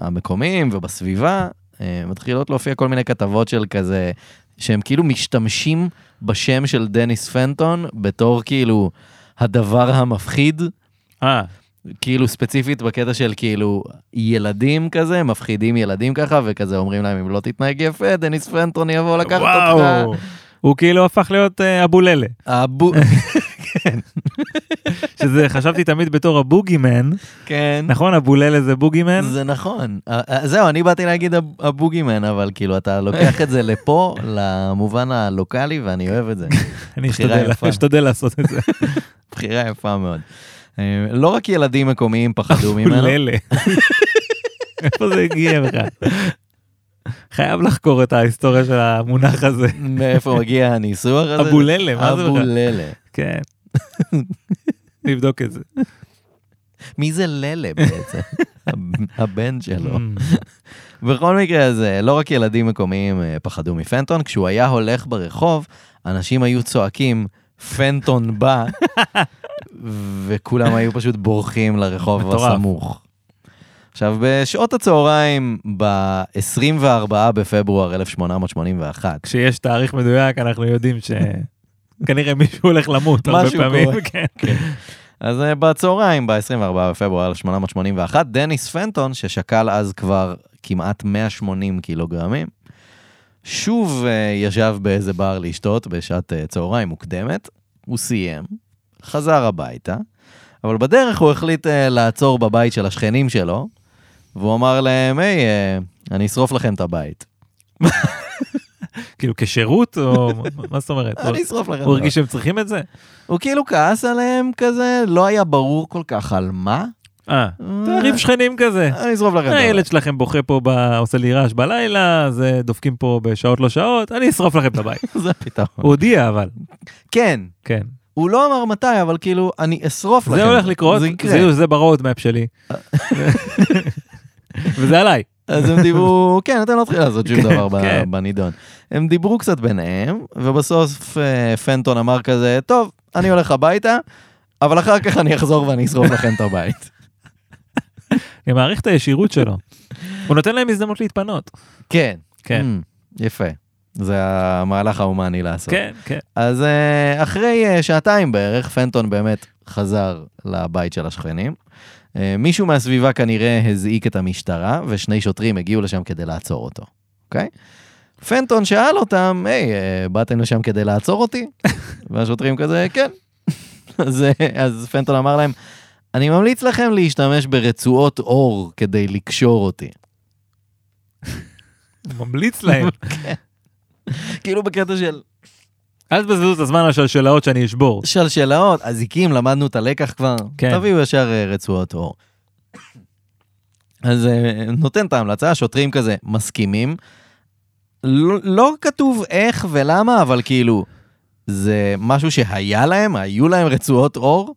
B: המקומיים ובסביבה, אה, מתחילות להופיע כל מיני כתבות של כזה, שהם כאילו משתמשים בשם של דניס פנטון בתור, כאילו, הדבר המפחיד.
A: אה,
B: כאילו ספציפית בקטע של כאילו ילדים כזה, מפחידים ילדים ככה, וכזה אומרים להם אם לא תתנהג יפה, דניס פרנטון יבוא לקחת
A: וואו.
B: אותך.
A: הוא כאילו הפך להיות אה, אבוללה,
B: הבו...
A: שזה חשבתי תמיד בתור הבוגימן,
B: כן,
A: נכון? אבוללה זה בוגימן?
B: זה נכון. אה, אה, זהו, אני באתי להגיד הב- הבוגימן, אבל כאילו אתה לוקח את זה לפה, למובן הלוקאלי, ואני אוהב את זה.
A: אני
B: בחירה
A: אשתדל-
B: יפה.
A: אשתדל לעשות את זה.
B: בחירה יפה מאוד. אה, לא רק ילדים מקומיים פחדו ממנו.
A: פוללה. איפה זה הגיע בכלל? חייב לחקור את ההיסטוריה של המונח הזה.
B: מאיפה מגיע הניסוח הזה?
A: אבוללה, מה זה בכלל?
B: אבוללה.
A: כן. נבדוק את זה.
B: מי זה ללה בעצם? הבן
A: לא.
B: שלו.
A: Mm.
B: בכל מקרה, אז אה, לא רק ילדים מקומיים אה, פחדו מפנטון, כשהוא היה הולך ברחוב, אנשים היו צועקים, פנטון בא, וכולם היו פשוט בורחים לרחוב
A: מטורף.
B: הסמוך. עכשיו, בשעות הצהריים, ב-24 בפברואר 1881,
A: כשיש תאריך מדויק אנחנו יודעים ש... כנראה מישהו הולך למות הרבה
B: משהו
A: פעמים,
B: קורה.
A: כן.
B: אז אה, בצהריים, ב-24 בפברואר 1881, דניס פנטון, ששקל אז כבר כמעט 180 קילוגרמים, שוב אה, ישב באיזה בר לשתות בשעת אה, צהריים מוקדמת, הוא סיים, חזר הביתה, אבל בדרך הוא החליט אה, לעצור בבית של השכנים שלו, והוא אמר להם, היי, אה, אני אשרוף לכם את הבית.
A: כאילו כשירות או מה זאת אומרת? הוא-
B: אני אשרוף לכם את
A: הוא
B: הבית.
A: הרגיש שהם צריכים את זה?
B: הוא כאילו כעס עליהם כזה, לא היה ברור כל כך על מה. אה,
A: אה, תעריף שכנים כזה.
B: אני אשרוף לכם את הבית.
A: הילד שלכם בוכה פה, ב... עושה לי רעש בלילה, אז אה, דופקים פה בשעות לא שעות, אני אשרוף לכם את הבית.
B: זה הפתרון.
A: הוא הודיע אבל,
B: כן,
A: כן.
B: הוא לא אמר מתי, אבל כאילו, אני אשרוף לכם.
A: זה הולך לקרות,
B: זה
A: כן. זה,
B: יקרה.
A: זה ברודמפ שלי. וזה עליי.
B: אז הם דיברו, כן, אתם לא צריכים לעשות שום
A: כן,
B: דבר ב-
A: כן.
B: בנידון. הם דיברו קצת ביניהם, ובסוף אה, פנטון אמר כזה, טוב, אני הולך הביתה, אבל אחר כך אני אחזור ואני אשרוף לכם את הבית.
A: אני מעריך את הישירות שלו. הוא נותן להם הזדמנות להתפנות.
B: כן.
A: כן,
B: Mm, יפה. זה המהלך ההומני לעשות.
A: כן, כן.
B: אז אה, אחרי אה, שעתיים בערך, פנטון באמת חזר לבית של השכנים. אה, מישהו מהסביבה כנראה הזעיק את המשטרה, ושני שוטרים הגיעו לשם כדי לעצור אותו, אוקיי? פנטון שאל אותם, היי, אה, באתם לשם כדי לעצור אותי? והשוטרים כזה, כן. אז, אה, אז פנטון אמר להם, אני ממליץ לכם להשתמש ברצועות אור כדי לקשור אותי.
A: הוא ממליץ להם.
B: כאילו בקטע של
A: אל תבזבזו את הזמן על שלשלאות שאני אשבור.
B: שלשלאות, אזיקים, למדנו את הלקח כבר,
A: כן.
B: תביאו ישר אה, רצועות אור. אז אה, נותן את ההמלצה, השוטרים כזה מסכימים. לא, לא כתוב איך ולמה, אבל כאילו, זה משהו שהיה להם, היו להם רצועות אור,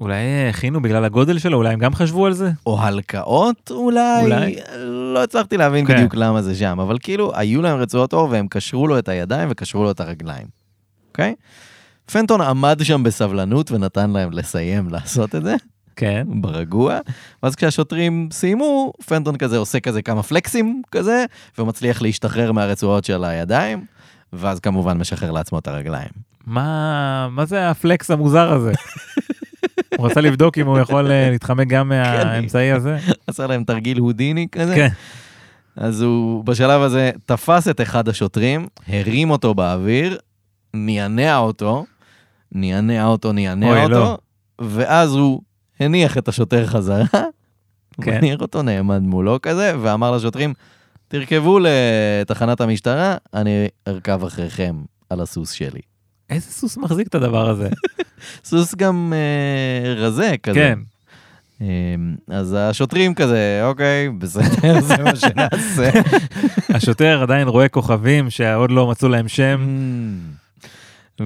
A: אולי אה, הכינו בגלל הגודל שלו, אולי הם גם חשבו על זה?
B: או הלקאות אולי,
A: אולי.
B: לא הצלחתי להבין
A: כן.
B: בדיוק למה זה שם, אבל כאילו, היו להם רצועות אור והם קשרו לו את הידיים וקשרו לו את הרגליים, אוקיי? פנטון עמד שם בסבלנות ונתן להם לסיים לעשות את זה.
A: כן.
B: ברגוע, ואז כשהשוטרים סיימו, פנטון כזה עושה כזה כמה פלקסים כזה, ומצליח להשתחרר מהרצועות של הידיים, ואז כמובן משחרר לעצמו את הרגליים.
A: מה, מה זה הפלקס המוזר הזה? הוא רצה לבדוק אם הוא יכול אה, להתחמק גם מהאמצעי הזה.
B: עשה להם תרגיל הודיני כזה.
A: כן.
B: אז הוא בשלב הזה תפס את אחד השוטרים, הרים אותו באוויר, נענע אותו, נענע אותו, נענע
A: אוי,
B: אותו,
A: לא.
B: ואז הוא הניח את השוטר חזרה,
A: כן.
B: כן. הניח אותו נעמד מולו כזה, ואמר לשוטרים, תרכבו לתחנת המשטרה, אני ארכב אחריכם על הסוס שלי.
A: איזה סוס מחזיק את הדבר הזה?
B: סוס גם אה, רזה כזה.
A: כן.
B: אמ, אז השוטרים כזה, אוקיי, בסדר, זה מה שנעשה.
A: השוטר עדיין רואה כוכבים שעוד לא מצאו להם שם.
B: Hmm.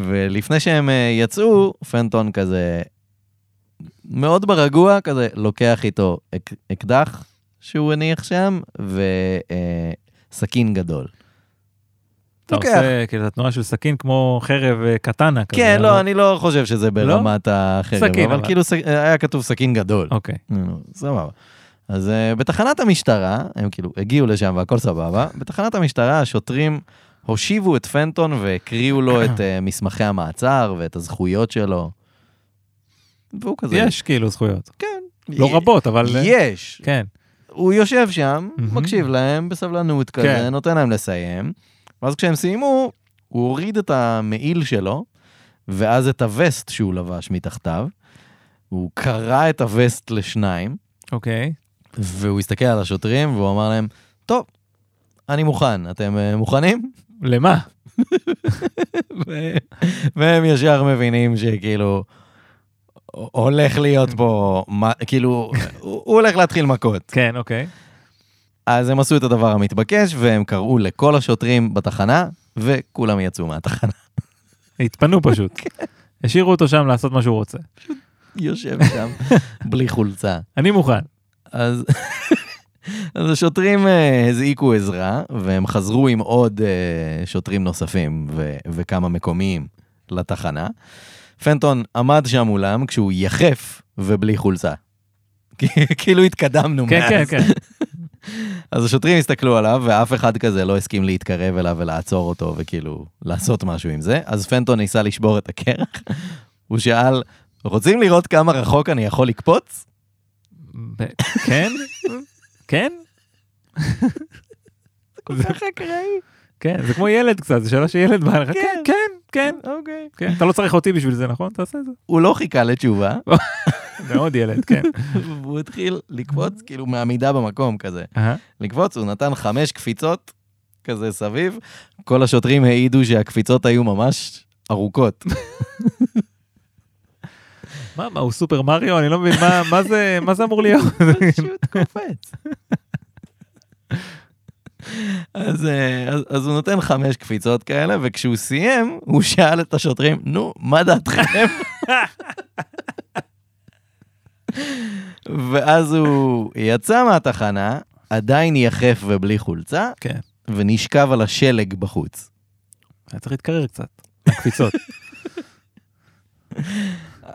B: ולפני שהם אה, יצאו, פנטון כזה מאוד ברגוע, כזה לוקח איתו אק- אקדח שהוא הניח שם, וסכין גדול.
A: אתה
B: לוקח.
A: עושה כאילו את התנועה של סכין כמו חרב אה, קטנה כזה.
B: כן,
A: אבל-
B: לא, אני לא חושב שזה ברמת החרב,
A: סכין,
B: אבל
A: אבל.
B: כאילו סכ- היה כתוב סכין גדול.
A: אוקיי.
B: נו, סבבה. אז אה, בתחנת המשטרה, הם כאילו הגיעו לשם והכל סבבה, בתחנת המשטרה השוטרים הושיבו את פנטון והקריאו לו את אה, מסמכי המעצר ואת הזכויות שלו. והוא כזה...
A: יש כאילו זכויות. לא
B: י-
A: רבות, אבל... אה,
B: יש.
A: כן.
B: הוא יושב שם,
A: מהמם.
B: מקשיב להם בסבלנות כזה,
A: כן.
B: נותן להם לסיים, ואז כשהם סיימו, הוא הוריד את המעיל שלו, ואז את הווסט שהוא לבש מתחתיו. הוא קרע את הווסט לשניים.
A: אוקיי.
B: והוא הסתכל על השוטרים והוא אמר להם, טוב, אני מוכן, אתם אה, מוכנים?
A: למה?
B: ו- והם ישר מבינים שכאילו, הולך להיות פה, מה- כאילו, הוא הוא הולך להתחיל מכות.
A: כן, אוקיי.
B: אז הם עשו את הדבר המתבקש, והם קראו לכל השוטרים בתחנה, וכולם יצאו מהתחנה.
A: התפנו פשוט.
B: כן.
A: השאירו אותו שם לעשות מה שהוא רוצה.
B: יושב שם, בלי חולצה.
A: אני מוכן.
B: אז, אז השוטרים אה, הזעיקו עזרה, והם חזרו עם עוד אה, שוטרים נוספים ו, וכמה מקומיים לתחנה. פנטון עמד שם מולם כשהוא יחף ובלי חולצה. כאילו התקדמנו
A: כן,
B: מאז.
A: כן, כן.
B: אז השוטרים הסתכלו עליו, ואף אחד כזה לא הסכים להתקרב אליו ולעצור אותו, וכאילו, לעשות משהו עם זה. אז פנטון ניסה לשבור את הקרח. הוא שאל, רוצים לראות כמה רחוק אני יכול לקפוץ?
A: ב- כן? כן?
B: כל כך אקראי.
A: כן, זה כמו ילד קצת, זו שאלה שילד בא לך, כן,
B: כן.
A: כן, כן,
B: אוקיי.
A: כן. אתה לא צריך אותי בשביל זה, נכון? תעשה את זה.
B: הוא לא חיכה לתשובה,
A: מאוד ילד, כן.
B: והוא התחיל לקפוץ, כאילו, מעמידה במקום כזה.
A: אהה.
B: לקפוץ, הוא נתן חמש קפיצות כזה סביב. כל השוטרים העידו שהקפיצות היו ממש ארוכות.
A: מה, מה, הוא סופר מריו? אני לא מבין, מה- מה זה- מה זה אמור להיות?
B: פשוט קופץ. אז, אה, אז, אז הוא נותן חמש קפיצות כאלה, וכשהוא סיים, הוא שאל את השוטרים, נו, מה דעתכם? ואז הוא יצא מהתחנה, עדיין יחף ובלי חולצה,
A: כן.
B: ונשכב על השלג בחוץ.
A: היה צריך להתקרר קצת. הקפיצות.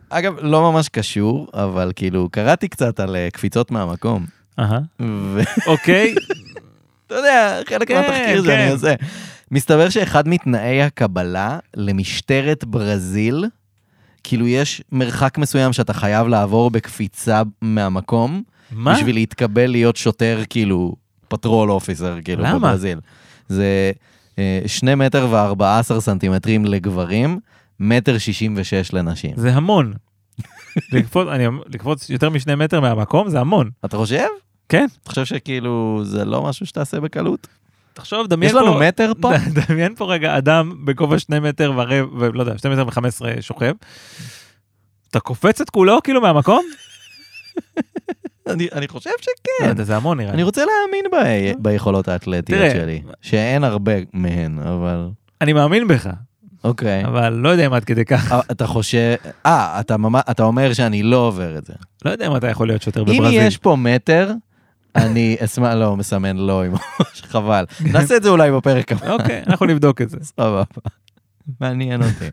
B: אגב, לא ממש קשור, אבל כאילו, קראתי קצת על אה, קפיצות מהמקום.
A: אהה.
B: ו...
A: אוקיי,
B: אתה יודע, חלק
A: כן,
B: מהתחקיר
A: כן.
B: שאני עושה. מסתבר שאחד מתנאי הקבלה למשטרת ברזיל, כאילו יש מרחק מסוים שאתה חייב לעבור בקפיצה מהמקום,
A: מה?
B: בשביל להתקבל להיות שוטר, כאילו, פטרול אופיסר, כאילו,
A: למה?
B: בברזיל. זה אה, שני מטר וארבע עשר סנטימטרים לגברים, מטר שישים ושש לנשים.
A: זה המון. לקפוץ, אני, אומר, לקפוץ יותר משני מטר מהמקום זה המון.
B: אתה חושב?
A: כן.
B: אתה חושב שכאילו זה לא משהו שתעשה בקלות?
A: תחשוב, דמיין
B: יש
A: פה...
B: לנו מטר פה?
A: דמיין פה רגע אדם בגובה שני מטר ורבע, ולא יודע, שני מטר וחמש עשרה שוכב. אתה קופץ את כולו כאילו מהמקום?
B: אני אני חושב ש...
A: לא יודע, זה המון נראה לי.
B: כן. אני רוצה להאמין ב- ביכולות האתלטיות
A: אה. תראה.
B: שלי, שאין הרבה מהן, אבל...
A: אני מאמין בך,
B: אוקיי.
A: אבל לא יודע אם עד כדי כך.
B: אה, אתה חושב... אה, אתה ממש- אתה אומר שאני לא עובר את זה.
A: לא יודע אם אתה יכול להיות שוטר
B: אם
A: בברזיל.
B: יש פה מטר, אני אשמח... לא, מסמן לא, עם הראש, חבל. נעשה את זה אולי בפרק הבא.
A: אוקיי, אנחנו נבדוק את זה.
B: סבבה. מעניין אותי.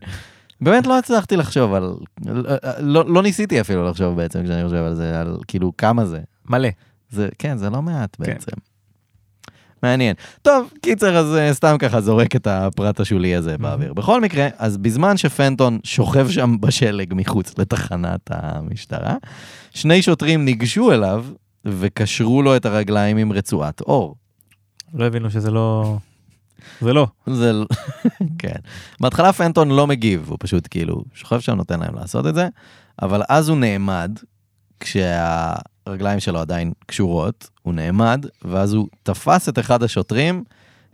B: באמת לא הצלחתי לחשוב על... לא לא ניסיתי אפילו לחשוב בעצם כשאני חושב על זה, על כאילו כמה זה.
A: מלא.
B: זה, כן, זה לא מעט
A: כן.
B: בעצם. מעניין. טוב, קיצר, אז אה, סתם ככה זורק את הפרט השולי הזה באוויר. בכל מקרה, אז בזמן שפנטון שוכב שם בשלג מחוץ לתחנת המשטרה, שני שוטרים ניגשו אליו וקשרו לו את הרגליים עם רצועת אור.
A: לא הבינו שזה לא... זה לא.
B: זה... לא- כן. בהתחלה פנטון לא מגיב, הוא פשוט כאילו שוכב שם, נותן להם לעשות את זה, אבל אז הוא נעמד, כשהרגליים שלו עדיין קשורות, הוא נעמד, ואז הוא תפס את אחד השוטרים,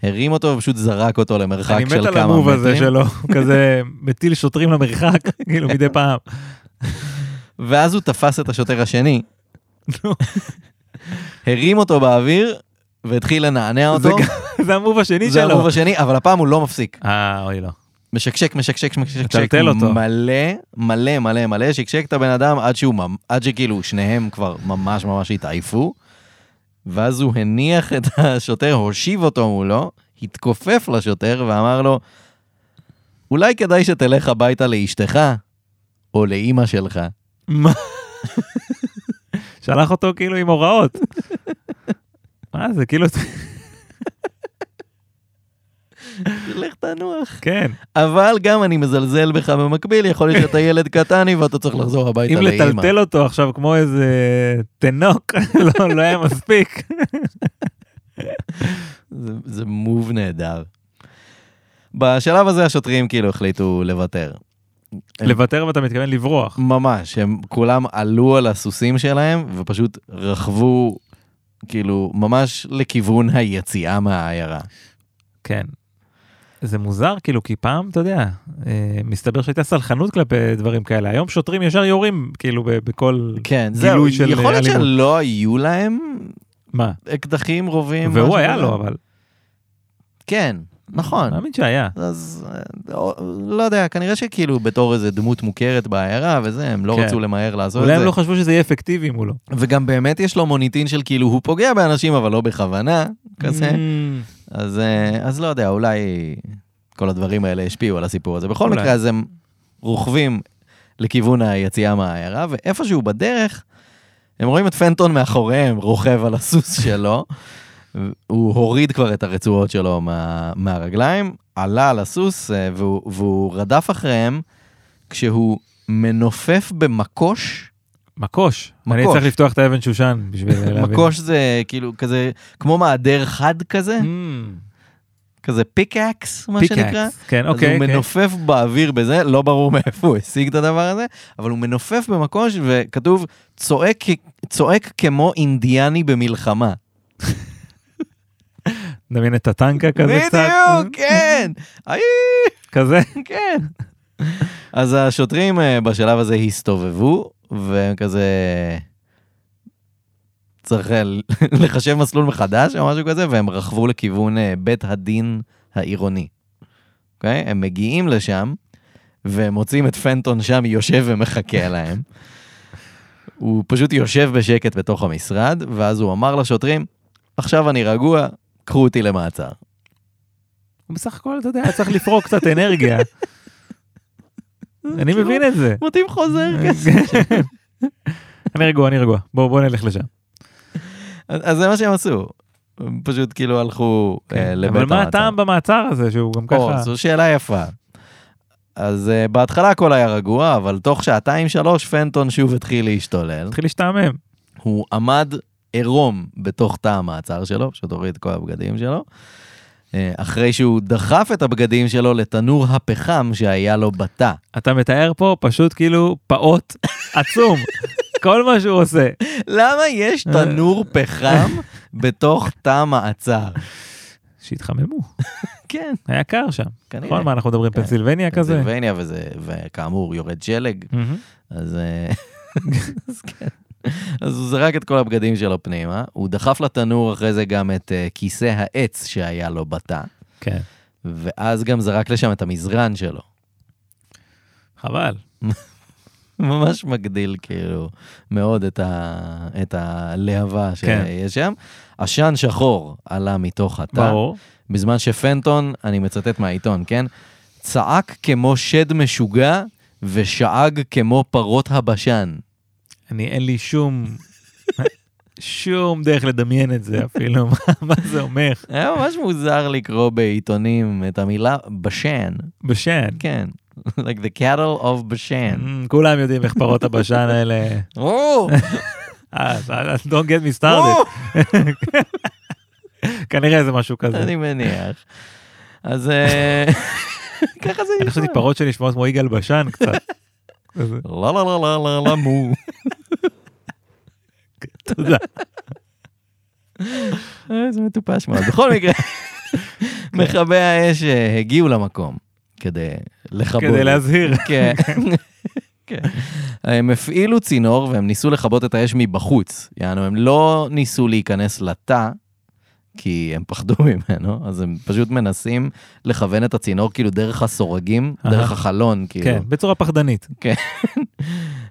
B: הרים אותו ופשוט זרק אותו למרחק
A: אני
B: של כמה מטרים.
A: מת על המוב הזה שלו, הוא כזה מטיל שוטרים למרחק, כאילו מדי פעם.
B: ואז הוא תפס את השוטר השני,
A: נו.
B: הרים אותו באוויר, והתחיל לנענע
A: זה
B: אותו.
A: גם- זה המוב השני
B: זה המוב
A: שלו.
B: השני, אבל הפעם הוא לא מפסיק.
A: אה, אוי לא.
B: משקשק, משקשק, משקשק,
A: מטלטל אותו.
B: מלא, מלא, מלא, מלא, שקשק את הבן אדם עד שהוא, ממ- עד שכאילו שניהם כבר ממש ממש התעייפו, ואז הוא הניח את השוטר, הושיב אותו מולו, התכופף לשוטר ואמר לו, אולי כדאי שתלך הביתה לאשתך, או לאימא שלך.
A: מה? שלח אותו כאילו עם הוראות. מה זה כאילו,
B: לך תנוח.
A: כן,
B: אבל גם אני מזלזל בך במקביל, יכול להיות שאתה ילד קטני ואתה צריך לחזור הביתה
A: אם
B: לאימא.
A: לטלטל אותו עכשיו כמו איזה תינוק, לא- לא היה מספיק.
B: זה, זה מוב נהדר. בשלב הזה השוטרים כאילו החליטו לוותר.
A: לוותר ואתה מתכוון לברוח.
B: ממש, הם כולם עלו על הסוסים שלהם ופשוט רכבו כאילו ממש לכיוון היציאה מהעיירה.
A: כן. זה מוזר, כאילו, כי פעם, אתה יודע, אה, מסתבר שהייתה סלחנות כלפי דברים כאלה. היום שוטרים ישר יורים, כאילו, ב- בכל
B: כן, זהו,
A: גילוי של
B: יכול להיות
A: אלימות.
B: שלא היו להם
A: מה?
B: אקדחים, רובים. משהו
A: והוא היה
B: כזה.
A: לו, אבל,
B: כן, נכון.
A: מאמין שהיה.
B: אז אה, או- לא יודע, כנראה שכאילו בתור איזה דמות מוכרת בעיירה וזה, הם לא
A: כן.
B: רצו למהר לעשות את
A: אולי
B: זה.
A: הם לא חשבו שזה יהיה אפקטיבי לא. מולו.
B: וגם באמת יש לו מוניטין של כאילו הוא פוגע באנשים אבל לא בכוונה, כזה.
A: Mm,
B: אז, אה, אז לא יודע, אולי כל הדברים האלה השפיעו על הסיפור הזה. בכל
A: אולי.
B: מקרה, אז הם רוכבים לכיוון היציאה מהעיירה, ואיפשהו בדרך, הם רואים את פנטון מאחוריהם רוכב על הסוס שלו. הוא הוריד כבר את הרצועות שלו מה, מהרגליים, עלה על הסוס אה, והוא, והוא רדף אחריהם כשהוא מנופף במקוש.
A: מקוש. אני
B: מקוש.
A: צריך לפתוח את האבן שושן בשביל להבין.
B: מקוש זה כאילו כזה, כמו מעדר חד כזה,
A: Mm,
B: כזה פיקאקס, מה
A: פיקאקס.
B: שנקרא.
A: כן,
B: אז הוא
A: אוקיי. אוקיי.
B: מנופף באוויר בזה, לא ברור מאיפה הוא השיג את הדבר הזה, אבל הוא מנופף במקוש וכתוב, צועק, צועק כמו אינדיאני במלחמה.
A: נדמיין את הטנקה כזה קצת. Mm,
B: בדיוק, כן, איי,
A: כזה.
B: כן. אז השוטרים אה, בשלב הזה הסתובבו, והם כזה... צריך אה, לחשב מסלול מחדש או משהו כזה, והם רכבו לכיוון אה, בית הדין העירוני. אוקיי? הם מגיעים לשם, והם מוצאים את פנטון שם יושב ומחכה להם. הוא פשוט יושב בשקט בתוך המשרד, ואז הוא אמר לשוטרים, עכשיו אני רגוע, קחו אותי למעצר.
A: הוא בסך הכל, אתה יודע, צריך לפרוק קצת אנרגיה. אני מבין אה, את זה.
B: מוטיב כאילו, חוזר כן. כזה.
A: אני רגוע, אני רגוע. בואו בואו נלך לשם.
B: אז אז זה מה שהם עשו. הם פשוט כאילו הלכו אה, לבית
A: אבל
B: המעצר.
A: מה הטעם במעצר הזה שהוא גם
B: או,
A: ככה...
B: זו שאלה יפה. אז אה, בהתחלה הכל היה רגוע, אבל תוך שעתיים שלוש פנטון שוב התחיל להשתולל.
A: התחיל להשתעמם.
B: הוא עמד עירום בתוך תא המעצר שלו, פשוט הוריד את כל הבגדים שלו. אה, אחרי שהוא דחף את הבגדים שלו לתנור הפחם שהיה לו בתא.
A: אתה מתאר פה פשוט כאילו פעוט עצום. כל מה שהוא עושה.
B: למה יש תנור פחם אה. בתוך תא מעצר?
A: שהתחממו.
B: כן,
A: היה קר שם.
B: כנראה.
A: נכון, מה אנחנו מדברים?
B: כן.
A: פנסילבניה כזה?
B: פנסילבניה וזה, וכאמור, יורד שלג,
A: מהמם.
B: אז... אה, אז כן. אז הוא זרק את כל הבגדים שלו פנימה, הוא דחף לתנור אחרי זה גם את אה, כיסא העץ שהיה לו בתא,
A: כן.
B: ואז גם זרק לשם את המזרן שלו.
A: חבל.
B: ממש מגדיל כאילו מאוד את, ה... את הלהבה
A: כן.
B: שיש שם. עשן שחור עלה מתוך התא.
A: ברור.
B: בזמן שפנטון, אני מצטט מהעיתון, כן? צעק כמו שד משוגע ושאג כמו פרות הבשן.
A: אני, אין לי שום... שום דרך לדמיין את זה אפילו, מה- מה זה אומר?
B: היה ממש מוזר לקרוא בעיתונים את המילה בשן,
A: בשן.
B: כן. like the cattle of בשן.
A: Mm, כולם יודעים איך פרות הבשן האלה...
B: Mm-hmm. או!
A: אה, אז- אז don't get me
B: או!
A: started. כנראה זה משהו כזה.
B: אני מניח. אז אה, ככה זה
A: אני חשבתי פרות שנשמעות כמו יגאל בשן קצת. כזה,
B: לא לא לא לא לא לא מו.
A: תודה.
B: אה, זה מטופש מאוד. בכל מקרה, כן. מכבי האש אה, הגיעו למקום כדי לכבות.
A: כדי להזהיר.
B: כן. כן. הם הפעילו צינור והם ניסו לכבות את האש מבחוץ. יענו, הם לא ניסו להיכנס לתא, כי הם פחדו ממנו, אז הם פשוט מנסים לכוון את הצינור כאילו דרך הסורגים,
A: אהה.
B: דרך החלון, כאילו.
A: כן, בצורה פחדנית.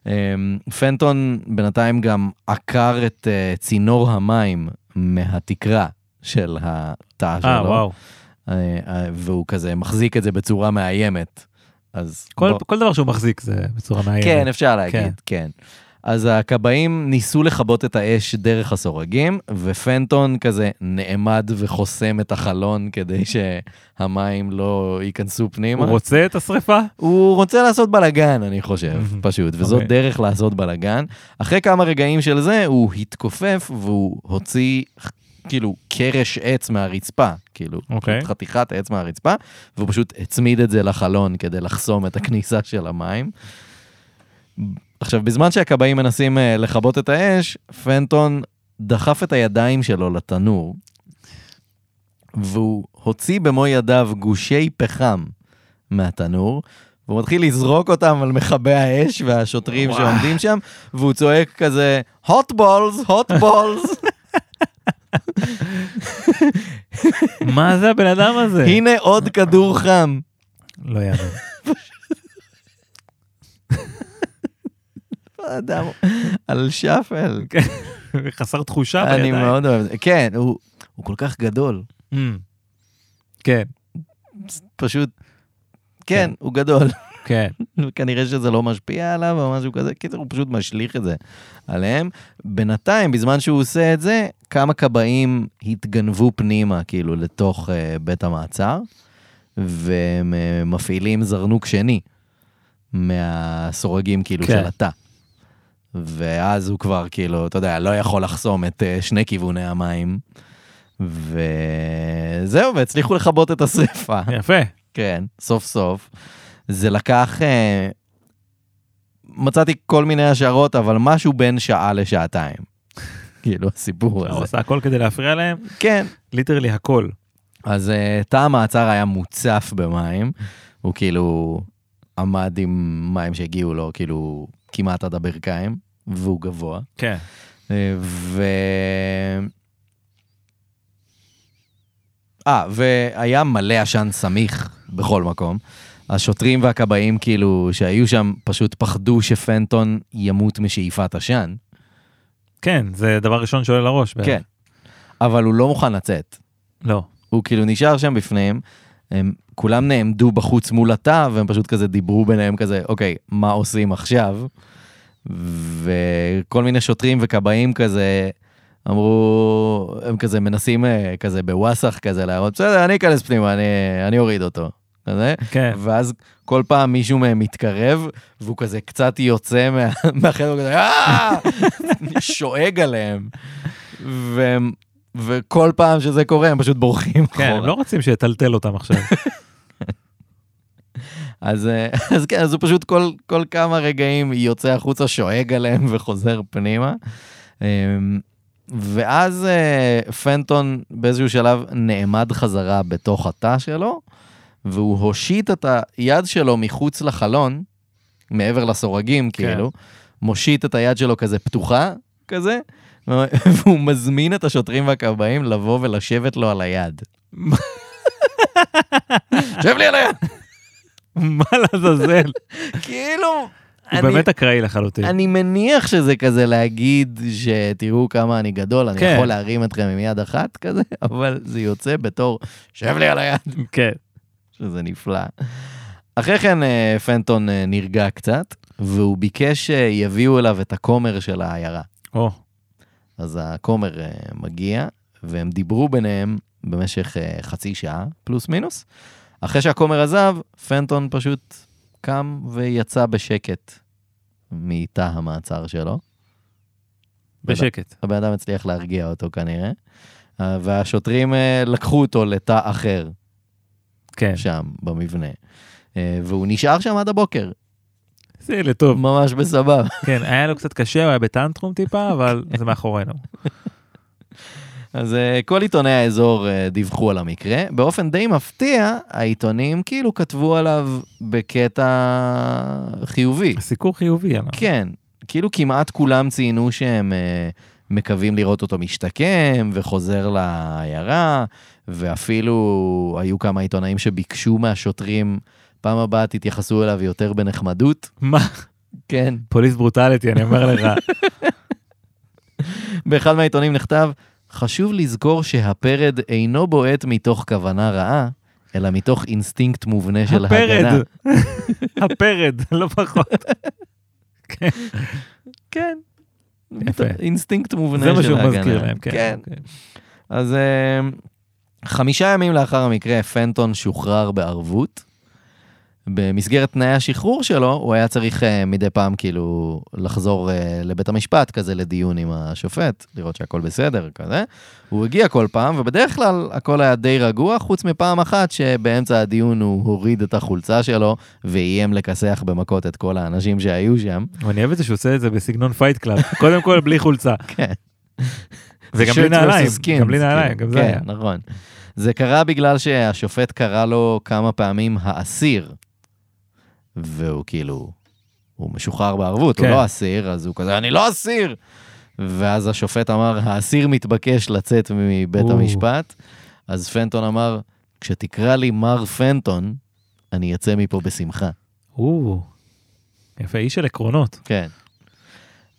B: אמ, פנטון בינתיים גם עקר את אה, צינור המים מהתקרה של התא שלו.
A: אה, וואו.
B: אה, אה, והוא כזה מחזיק את זה בצורה מאיימת. אז...
A: כל
B: בוא-
A: כל דבר שהוא מחזיק זה בצורה מאיימת.
B: כן, אפשר להגיד, כן. אז הכבאים ניסו לכבות את האש דרך הסורגים, ופנטון כזה נעמד וחוסם את החלון כדי שהמים לא ייכנסו פנימה.
A: הוא רוצה את השריפה?
B: הוא רוצה לעשות בלאגן, אני חושב,
A: Mhm.
B: פשוט, וזאת
A: אוקיי.
B: דרך לעשות בלאגן. אחרי כמה רגעים של זה, הוא התכופף והוא הוציא כאילו קרש עץ מהרצפה, כאילו,
A: אוקיי.
B: פשוט חתיכת עץ מהרצפה, והוא פשוט הצמיד את זה לחלון כדי לחסום את הכניסה של המים. עכשיו, בזמן שהכבאים מנסים אה, לכבות את האש, פנטון דחף את הידיים שלו לתנור, והוא הוציא במו ידיו גושי פחם מהתנור, והוא מתחיל לזרוק אותם על מכבי האש והשוטרים
A: וואו.
B: שעומדים שם, והוא צועק כזה, hot balls, hot balls,
A: מה זה הבן אדם הזה?
B: הנה עוד כדור חם.
A: לא יאמן.
B: אדם על שפל.
A: חסר תחושה
B: אני
A: בידיים.
B: מאוד אוהב את זה. כן, הוא הוא כל כך גדול.
A: Mm. כן,
B: פשוט,
A: כן.
B: כן, הוא גדול.
A: כן.
B: כנראה שזה לא משפיע עליו או משהו כזה, קיצר, הוא פשוט משליך את זה עליהם. בינתיים, בזמן שהוא עושה את זה, כמה כבאים התגנבו פנימה, כאילו, לתוך uh, בית המעצר, והם אה, מפעילים זרנוק שני מהסורגים, כאילו,
A: כן.
B: של התא. ואז הוא כבר, כאילו, אתה יודע, לא יכול לחסום את אה, שני כיווני המים. וזהו, והצליחו לכבות את השריפה.
A: יפה.
B: כן, סוף סוף. זה לקח... אה, מצאתי כל מיני השערות, אבל משהו בין שעה לשעתיים. כאילו, הסיפור
A: הוא
B: הזה.
A: עשה הכל כדי להפריע להם,
B: כן.
A: ליטרלי הכל.
B: אז אה, תא המעצר היה מוצף במים. הוא כאילו עמד עם מים שהגיעו לו, כאילו, כמעט עד הברכיים, והוא גבוה.
A: כן.
B: אה, ו... אה, והיה מלא עשן סמיך בכל מקום. השוטרים והכבאים, כאילו, שהיו שם, פשוט פחדו שפנטון ימות משאיפת עשן.
A: כן, זה דבר ראשון שעולה לראש. בערך.
B: כן. אבל הוא לא מוכן לצאת.
A: לא.
B: הוא כאילו נשאר שם בפנים, הם כולם נעמדו בחוץ מול התא, והם פשוט כזה דיברו ביניהם כזה, אוקיי, מה עושים עכשיו? וכל מיני שוטרים וכבאים כזה אמרו, הם כזה מנסים אה, כזה בוואסאח כזה להראות, בסדר, אני אכנס פנימה, אני, אני אוריד אותו. כזה.
A: כן.
B: ואז כל פעם מישהו מהם מתקרב, והוא כזה קצת יוצא מה- מהחדר, הוא כזה, "אה!" שואג עליהם. והם- וכל פעם שזה קורה, הם פשוט בורחים
A: כן, הם
B: אחורה.
A: לא רוצים שיטלטל אותם עכשיו.
B: אז אה, אז כן, אז הוא פשוט כל- כל כמה רגעים יוצא החוצה, שואג עליהם וחוזר פנימה. אמ, ואז אה, פנטון באיזשהו שלב נעמד חזרה בתוך התא שלו, והוא הושיט את היד שלו מחוץ לחלון, מעבר לסורגים
A: כן.
B: כאילו, מושיט את היד שלו כזה פתוחה, כזה, והוא מזמין את השוטרים והכבאים לבוא ולשבת לו על היד. שב לי על היד!
A: מה לעזאזל?
B: כאילו...
A: הוא
B: אני-
A: באמת אקראי לחלוטין.
B: אני מניח שזה כזה להגיד שתראו כמה אני גדול, אני
A: כן.
B: יכול להרים אתכם עם יד אחת כזה, אבל זה יוצא בתור שב לי על היד,
A: כן.
B: שזה נפלא. אחרי כן אה, פנטון אה, נרגע קצת, והוא ביקש שיביאו אליו את הכומר של העיירה.
A: או,
B: אז הכומר אה, מגיע, והם דיברו ביניהם במשך אה, חצי שעה, פלוס מינוס. אחרי שהכומר עזב, פנטון פשוט קם ויצא בשקט מתא המעצר שלו.
A: בשקט.
B: הבן אדם הצליח להרגיע אותו כנראה, אה, והשוטרים אה, לקחו אותו לתא אחר
A: כן.
B: שם, במבנה. אה, והוא נשאר שם עד הבוקר,
A: זה ילד טוב.
B: ממש בסבבה.
A: כן, היה לו קצת קשה, הוא היה בטנטרום טיפה, אבל זה מאחורינו.
B: כן. אז אה, כל עיתוני האזור אה, דיווחו על המקרה. באופן די מפתיע, העיתונים כאילו כתבו עליו בקטע חיובי.
A: סיקור חיובי עליו.
B: כן, כאילו כמעט כולם ציינו שהם אה, מקווים לראות אותו משתקם וחוזר לעיירה, ואפילו היו כמה עיתונאים שביקשו מהשוטרים, פעם הבאה תתייחסו אליו יותר בנחמדות.
A: מה?
B: כן.
A: פוליס ברוטליטי, אני אומר לך.
B: באחד מהעיתונים נכתב, חשוב לזכור שהפרד אינו בועט מתוך כוונה רעה, אלא מתוך אינסטינקט מובנה של הגנה.
A: הפרד. הפרד, לא פחות. כן.
B: כן.
A: יפה.
B: אינסטינקט מובנה של
A: זה מה
B: הגנה.
A: שהוא מזכיר להם,
B: כן.
A: כן.
B: אז אה, חמישה ימים לאחר המקרה, פנטון שוחרר בערבות. במסגרת תנאי השחרור שלו, הוא היה צריך אה, מדי פעם כאילו לחזור אה, לבית המשפט, כזה לדיון עם השופט, לראות שהכל בסדר, כזה. הוא הגיע כל פעם, ובדרך כלל הכל היה די רגוע, חוץ מפעם אחת שבאמצע הדיון הוא הוריד את החולצה שלו ואיים לכסח במכות את כל האנשים שהיו שם.
A: אני אוהב את זה שהוא עושה את זה בסגנון פייט קלאב. קודם כל, בלי חולצה.
B: כן.
A: וגם בלי
B: Shirts versus
A: נעליים,
B: skins,
A: גם בלי
B: כאילו.
A: נעליים, גם זה היה.
B: כן, נכון. זה קרה בגלל שהשופט קרא לו כמה פעמים האסיר, והוא כאילו, הוא משוחרר בערבות,
A: כן.
B: הוא לא אסיר, אז הוא כזה, אני לא אסיר! ואז השופט אמר, האסיר מתבקש לצאת מבית
A: או.
B: המשפט, אז פנטון אמר, כשתקרא לי מר פנטון, אני אצא מפה בשמחה.
A: או, יפה, איש של עקרונות.
B: כן.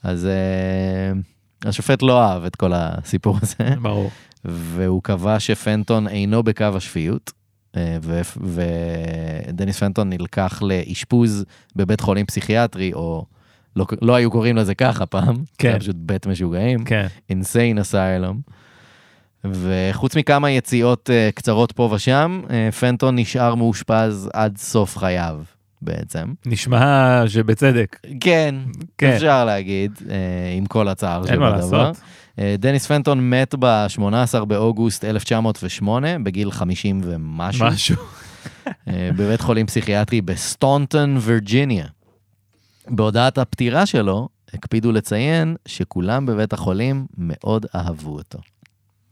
B: אז אה, השופט לא אהב את כל הסיפור הזה,
A: ברור.
B: והוא קבע שפנטון אינו בקו השפיות, אה, ו- ודניס פנטון נלקח לאשפוז בבית חולים פסיכיאטרי, או לא, לא היו קוראים לזה ככה פעם,
A: כן.
B: זה היה פשוט בית משוגעים,
A: כן.
B: Insane Asylum. וחוץ מכמה יציאות אה, קצרות פה ושם, אה, פנטון נשאר מאושפז עד סוף חייו בעצם.
A: נשמע שבצדק.
B: כן,
A: כן.
B: אפשר להגיד, אה, עם כל הצער
A: אין מה
B: שבדבר.
A: לעשות.
B: אה, דניס פנטון מת ב-18 באוגוסט 1908, בגיל 50 ומשהו,
A: משהו.
B: אה, בבית חולים פסיכיאטרי בסטונטון, וירג'יניה. בהודעת הפטירה שלו, הקפידו לציין שכולם בבית החולים מאוד אהבו אותו.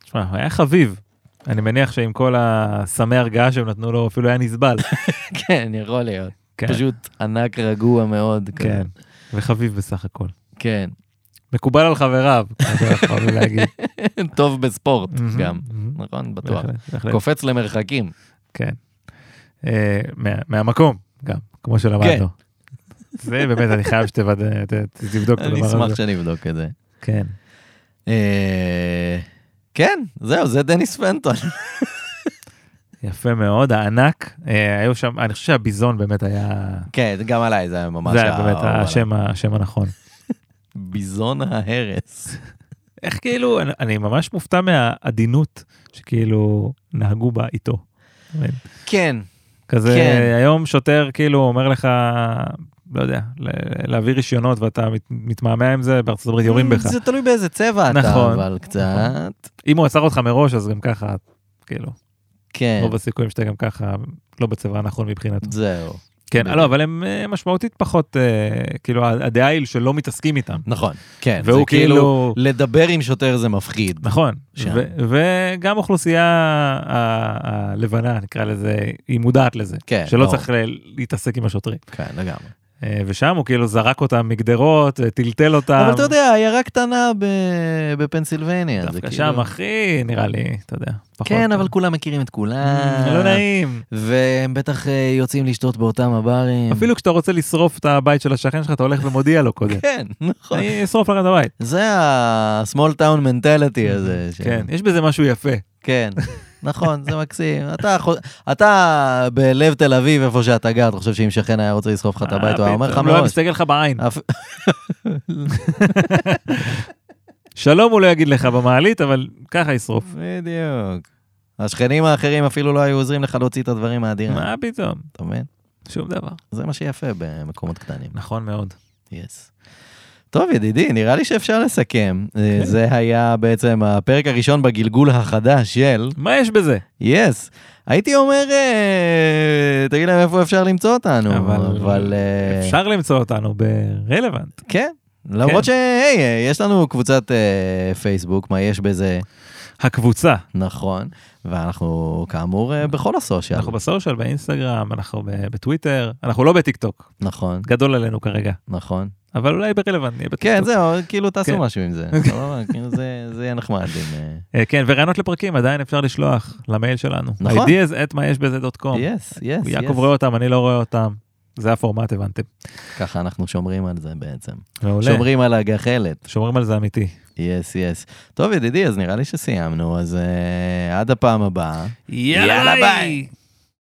A: תשמע, אה, הוא היה חביב. אני מניח שעם כל הסמי הרגעה שהם נתנו לו, אפילו היה נסבל.
B: כן, יכול להיות.
A: כן,
B: פשוט ענק רגוע מאוד. כזה.
A: כן. וחביב בסך הכל.
B: כן.
A: מקובל על חבריו, אז אנחנו יכולים להגיד.
B: טוב בספורט
A: מהמם,
B: גם,
A: מהמם.
B: נכון? בטוח.
A: בהחלט, בהחלט.
B: קופץ למרחקים.
A: כן. אה, מה- מהמקום, גם, כמו
B: כן.
A: שלמדנו. זה באמת, אני חייב שתוודא, ת- ת- תבדוק את
B: אני
A: הדבר
B: אשמח
A: הזה.
B: שנבדוק את זה.
A: כן.
B: אה, כן, זהו, זה דניס פנטון.
A: יפה מאוד, הענק, אה, היו שם, אני חושב שהביזון באמת היה,
B: כן, זה גם עליי, זה היה ממש...
A: זה היה באמת
B: האהוב עליי.
A: השם ה- השם הנכון.
B: ביזון ההרס.
A: איך כאילו, אני- אני ממש מופתע מהעדינות שכאילו נהגו בה איתו.
B: כן,
A: כזה,
B: כן.
A: היום שוטר כאילו אומר לך, לא יודע, ל- להביא רישיונות ואתה מת- מתמהמה עם זה, בארצות הברית יורים בך.
B: Mm, זה תלוי באיזה צבע אתה,
A: נכון,
B: אבל קצת...
A: אם הוא עצר אותך מראש, אז גם ככה, כאילו,
B: כן,
A: רוב הסיכויים שאתה גם ככה לא בצבא הנכון מבחינתו.
B: זהו.
A: כן,
B: בדיוק.
A: לא, אבל הם אה, משמעותית פחות, אה, כאילו, הדעה היא שלא מתעסקים איתם.
B: נכון, כן.
A: והוא
B: זה
A: כאילו-
B: לדבר עם שוטר זה מפחיד.
A: נכון,
B: שם.
A: ו- וגם האוכלוסייה ה- הלבנה, נקרא לזה, היא מודעת לזה.
B: כן,
A: שלא
B: ברור.
A: צריך ל- להתעסק עם השוטרים.
B: כן, לגמרי.
A: אה, ושם הוא כאילו זרק אותם מגדרות, אה, טלטל אותם.
B: אבל אתה יודע, עיירה קטנה ב- בפנסילבניה. זה
A: דווקא
B: כאילו-
A: שם הכי נראה לי, אתה יודע. פחות-
B: כן, אבל כולם מכירים את כולם.
A: לא נעים.
B: והם בטח אה, יוצאים לשתות באותם הברים.
A: אפילו כשאתה רוצה לשרוף את הבית של השכן שלך, אתה הולך ומודיע לו קודם.
B: כן, נכון.
A: אני אשרוף לך את הבית.
B: זה ה-small town mentality הזה. ש-
A: כן, יש בזה משהו יפה.
B: כן, נכון, זה מקסים. אתה חו- אתה בלב תל אביב, איפה שאתה גר, אתה חושב שאם שכן היה רוצה לסחוב לך את הבית, הוא היה אומר לך
A: לא היה
B: מראש. אה.
A: מסתכל לך בעין.
B: אפ-
A: שלום הוא לא יגיד לך במעלית, אבל ככה ישרוף.
B: בדיוק. השכנים האחרים אפילו לא היו עוזרים לך להוציא את הדברים מהדירה,
A: מה פתאום?
B: אתה מבין?
A: שום דבר.
B: זה מה שיפה במקומות קטנים.
A: נכון מאוד.
B: יס. טוב, ידידי, נראה לי שאפשר לסכם. אה,
A: כן.
B: זה היה בעצם הפרק הראשון בגלגול החדש של...
A: מה יש בזה?
B: יס. הייתי אומר, אה, תגיד להם איפה אפשר למצוא אותנו,
A: אבל-
B: אבל אה,
A: אפשר למצוא אותנו ברלוונט.
B: כן. למרות שהי, אה, יש לנו קבוצת אה, פייסבוק, מה יש בזה,
A: הקבוצה,
B: נכון, ואנחנו כאמור אה, בכל הסושיאל,
A: אנחנו בסושיאל, באינסטגרם, אנחנו ב- בטוויטר, אנחנו לא בטיקטוק,
B: נכון,
A: גדול עלינו כרגע,
B: נכון.
A: אבל אולי ברלוונט נהיה
B: כן,
A: בטיקטוק.
B: זהו, כאילו תעשו
A: כן.
B: משהו עם זה, סבבה? כאילו, זה זה יהיה נחמד אם... אה,
A: אה, כן, ורעיונות לפרקים עדיין אפשר לשלוח למייל שלנו.
B: נכון.
A: ideas at מה יש בזה דוט קום.
B: יס, יס,
A: יעקב רואה אותם, אני לא רואה אותם. זה הפורמט, הבנתם.
B: ככה אנחנו שומרים על זה בעצם.
A: מעולה.
B: שומרים על הגחלת.
A: שומרים על זה אמיתי.
B: יס, יס. טוב, ידידי, אז נראה לי שסיימנו, אז אה, עד הפעם הבאה.
A: יאללה
B: יאללה,
A: ביי.
B: ביי.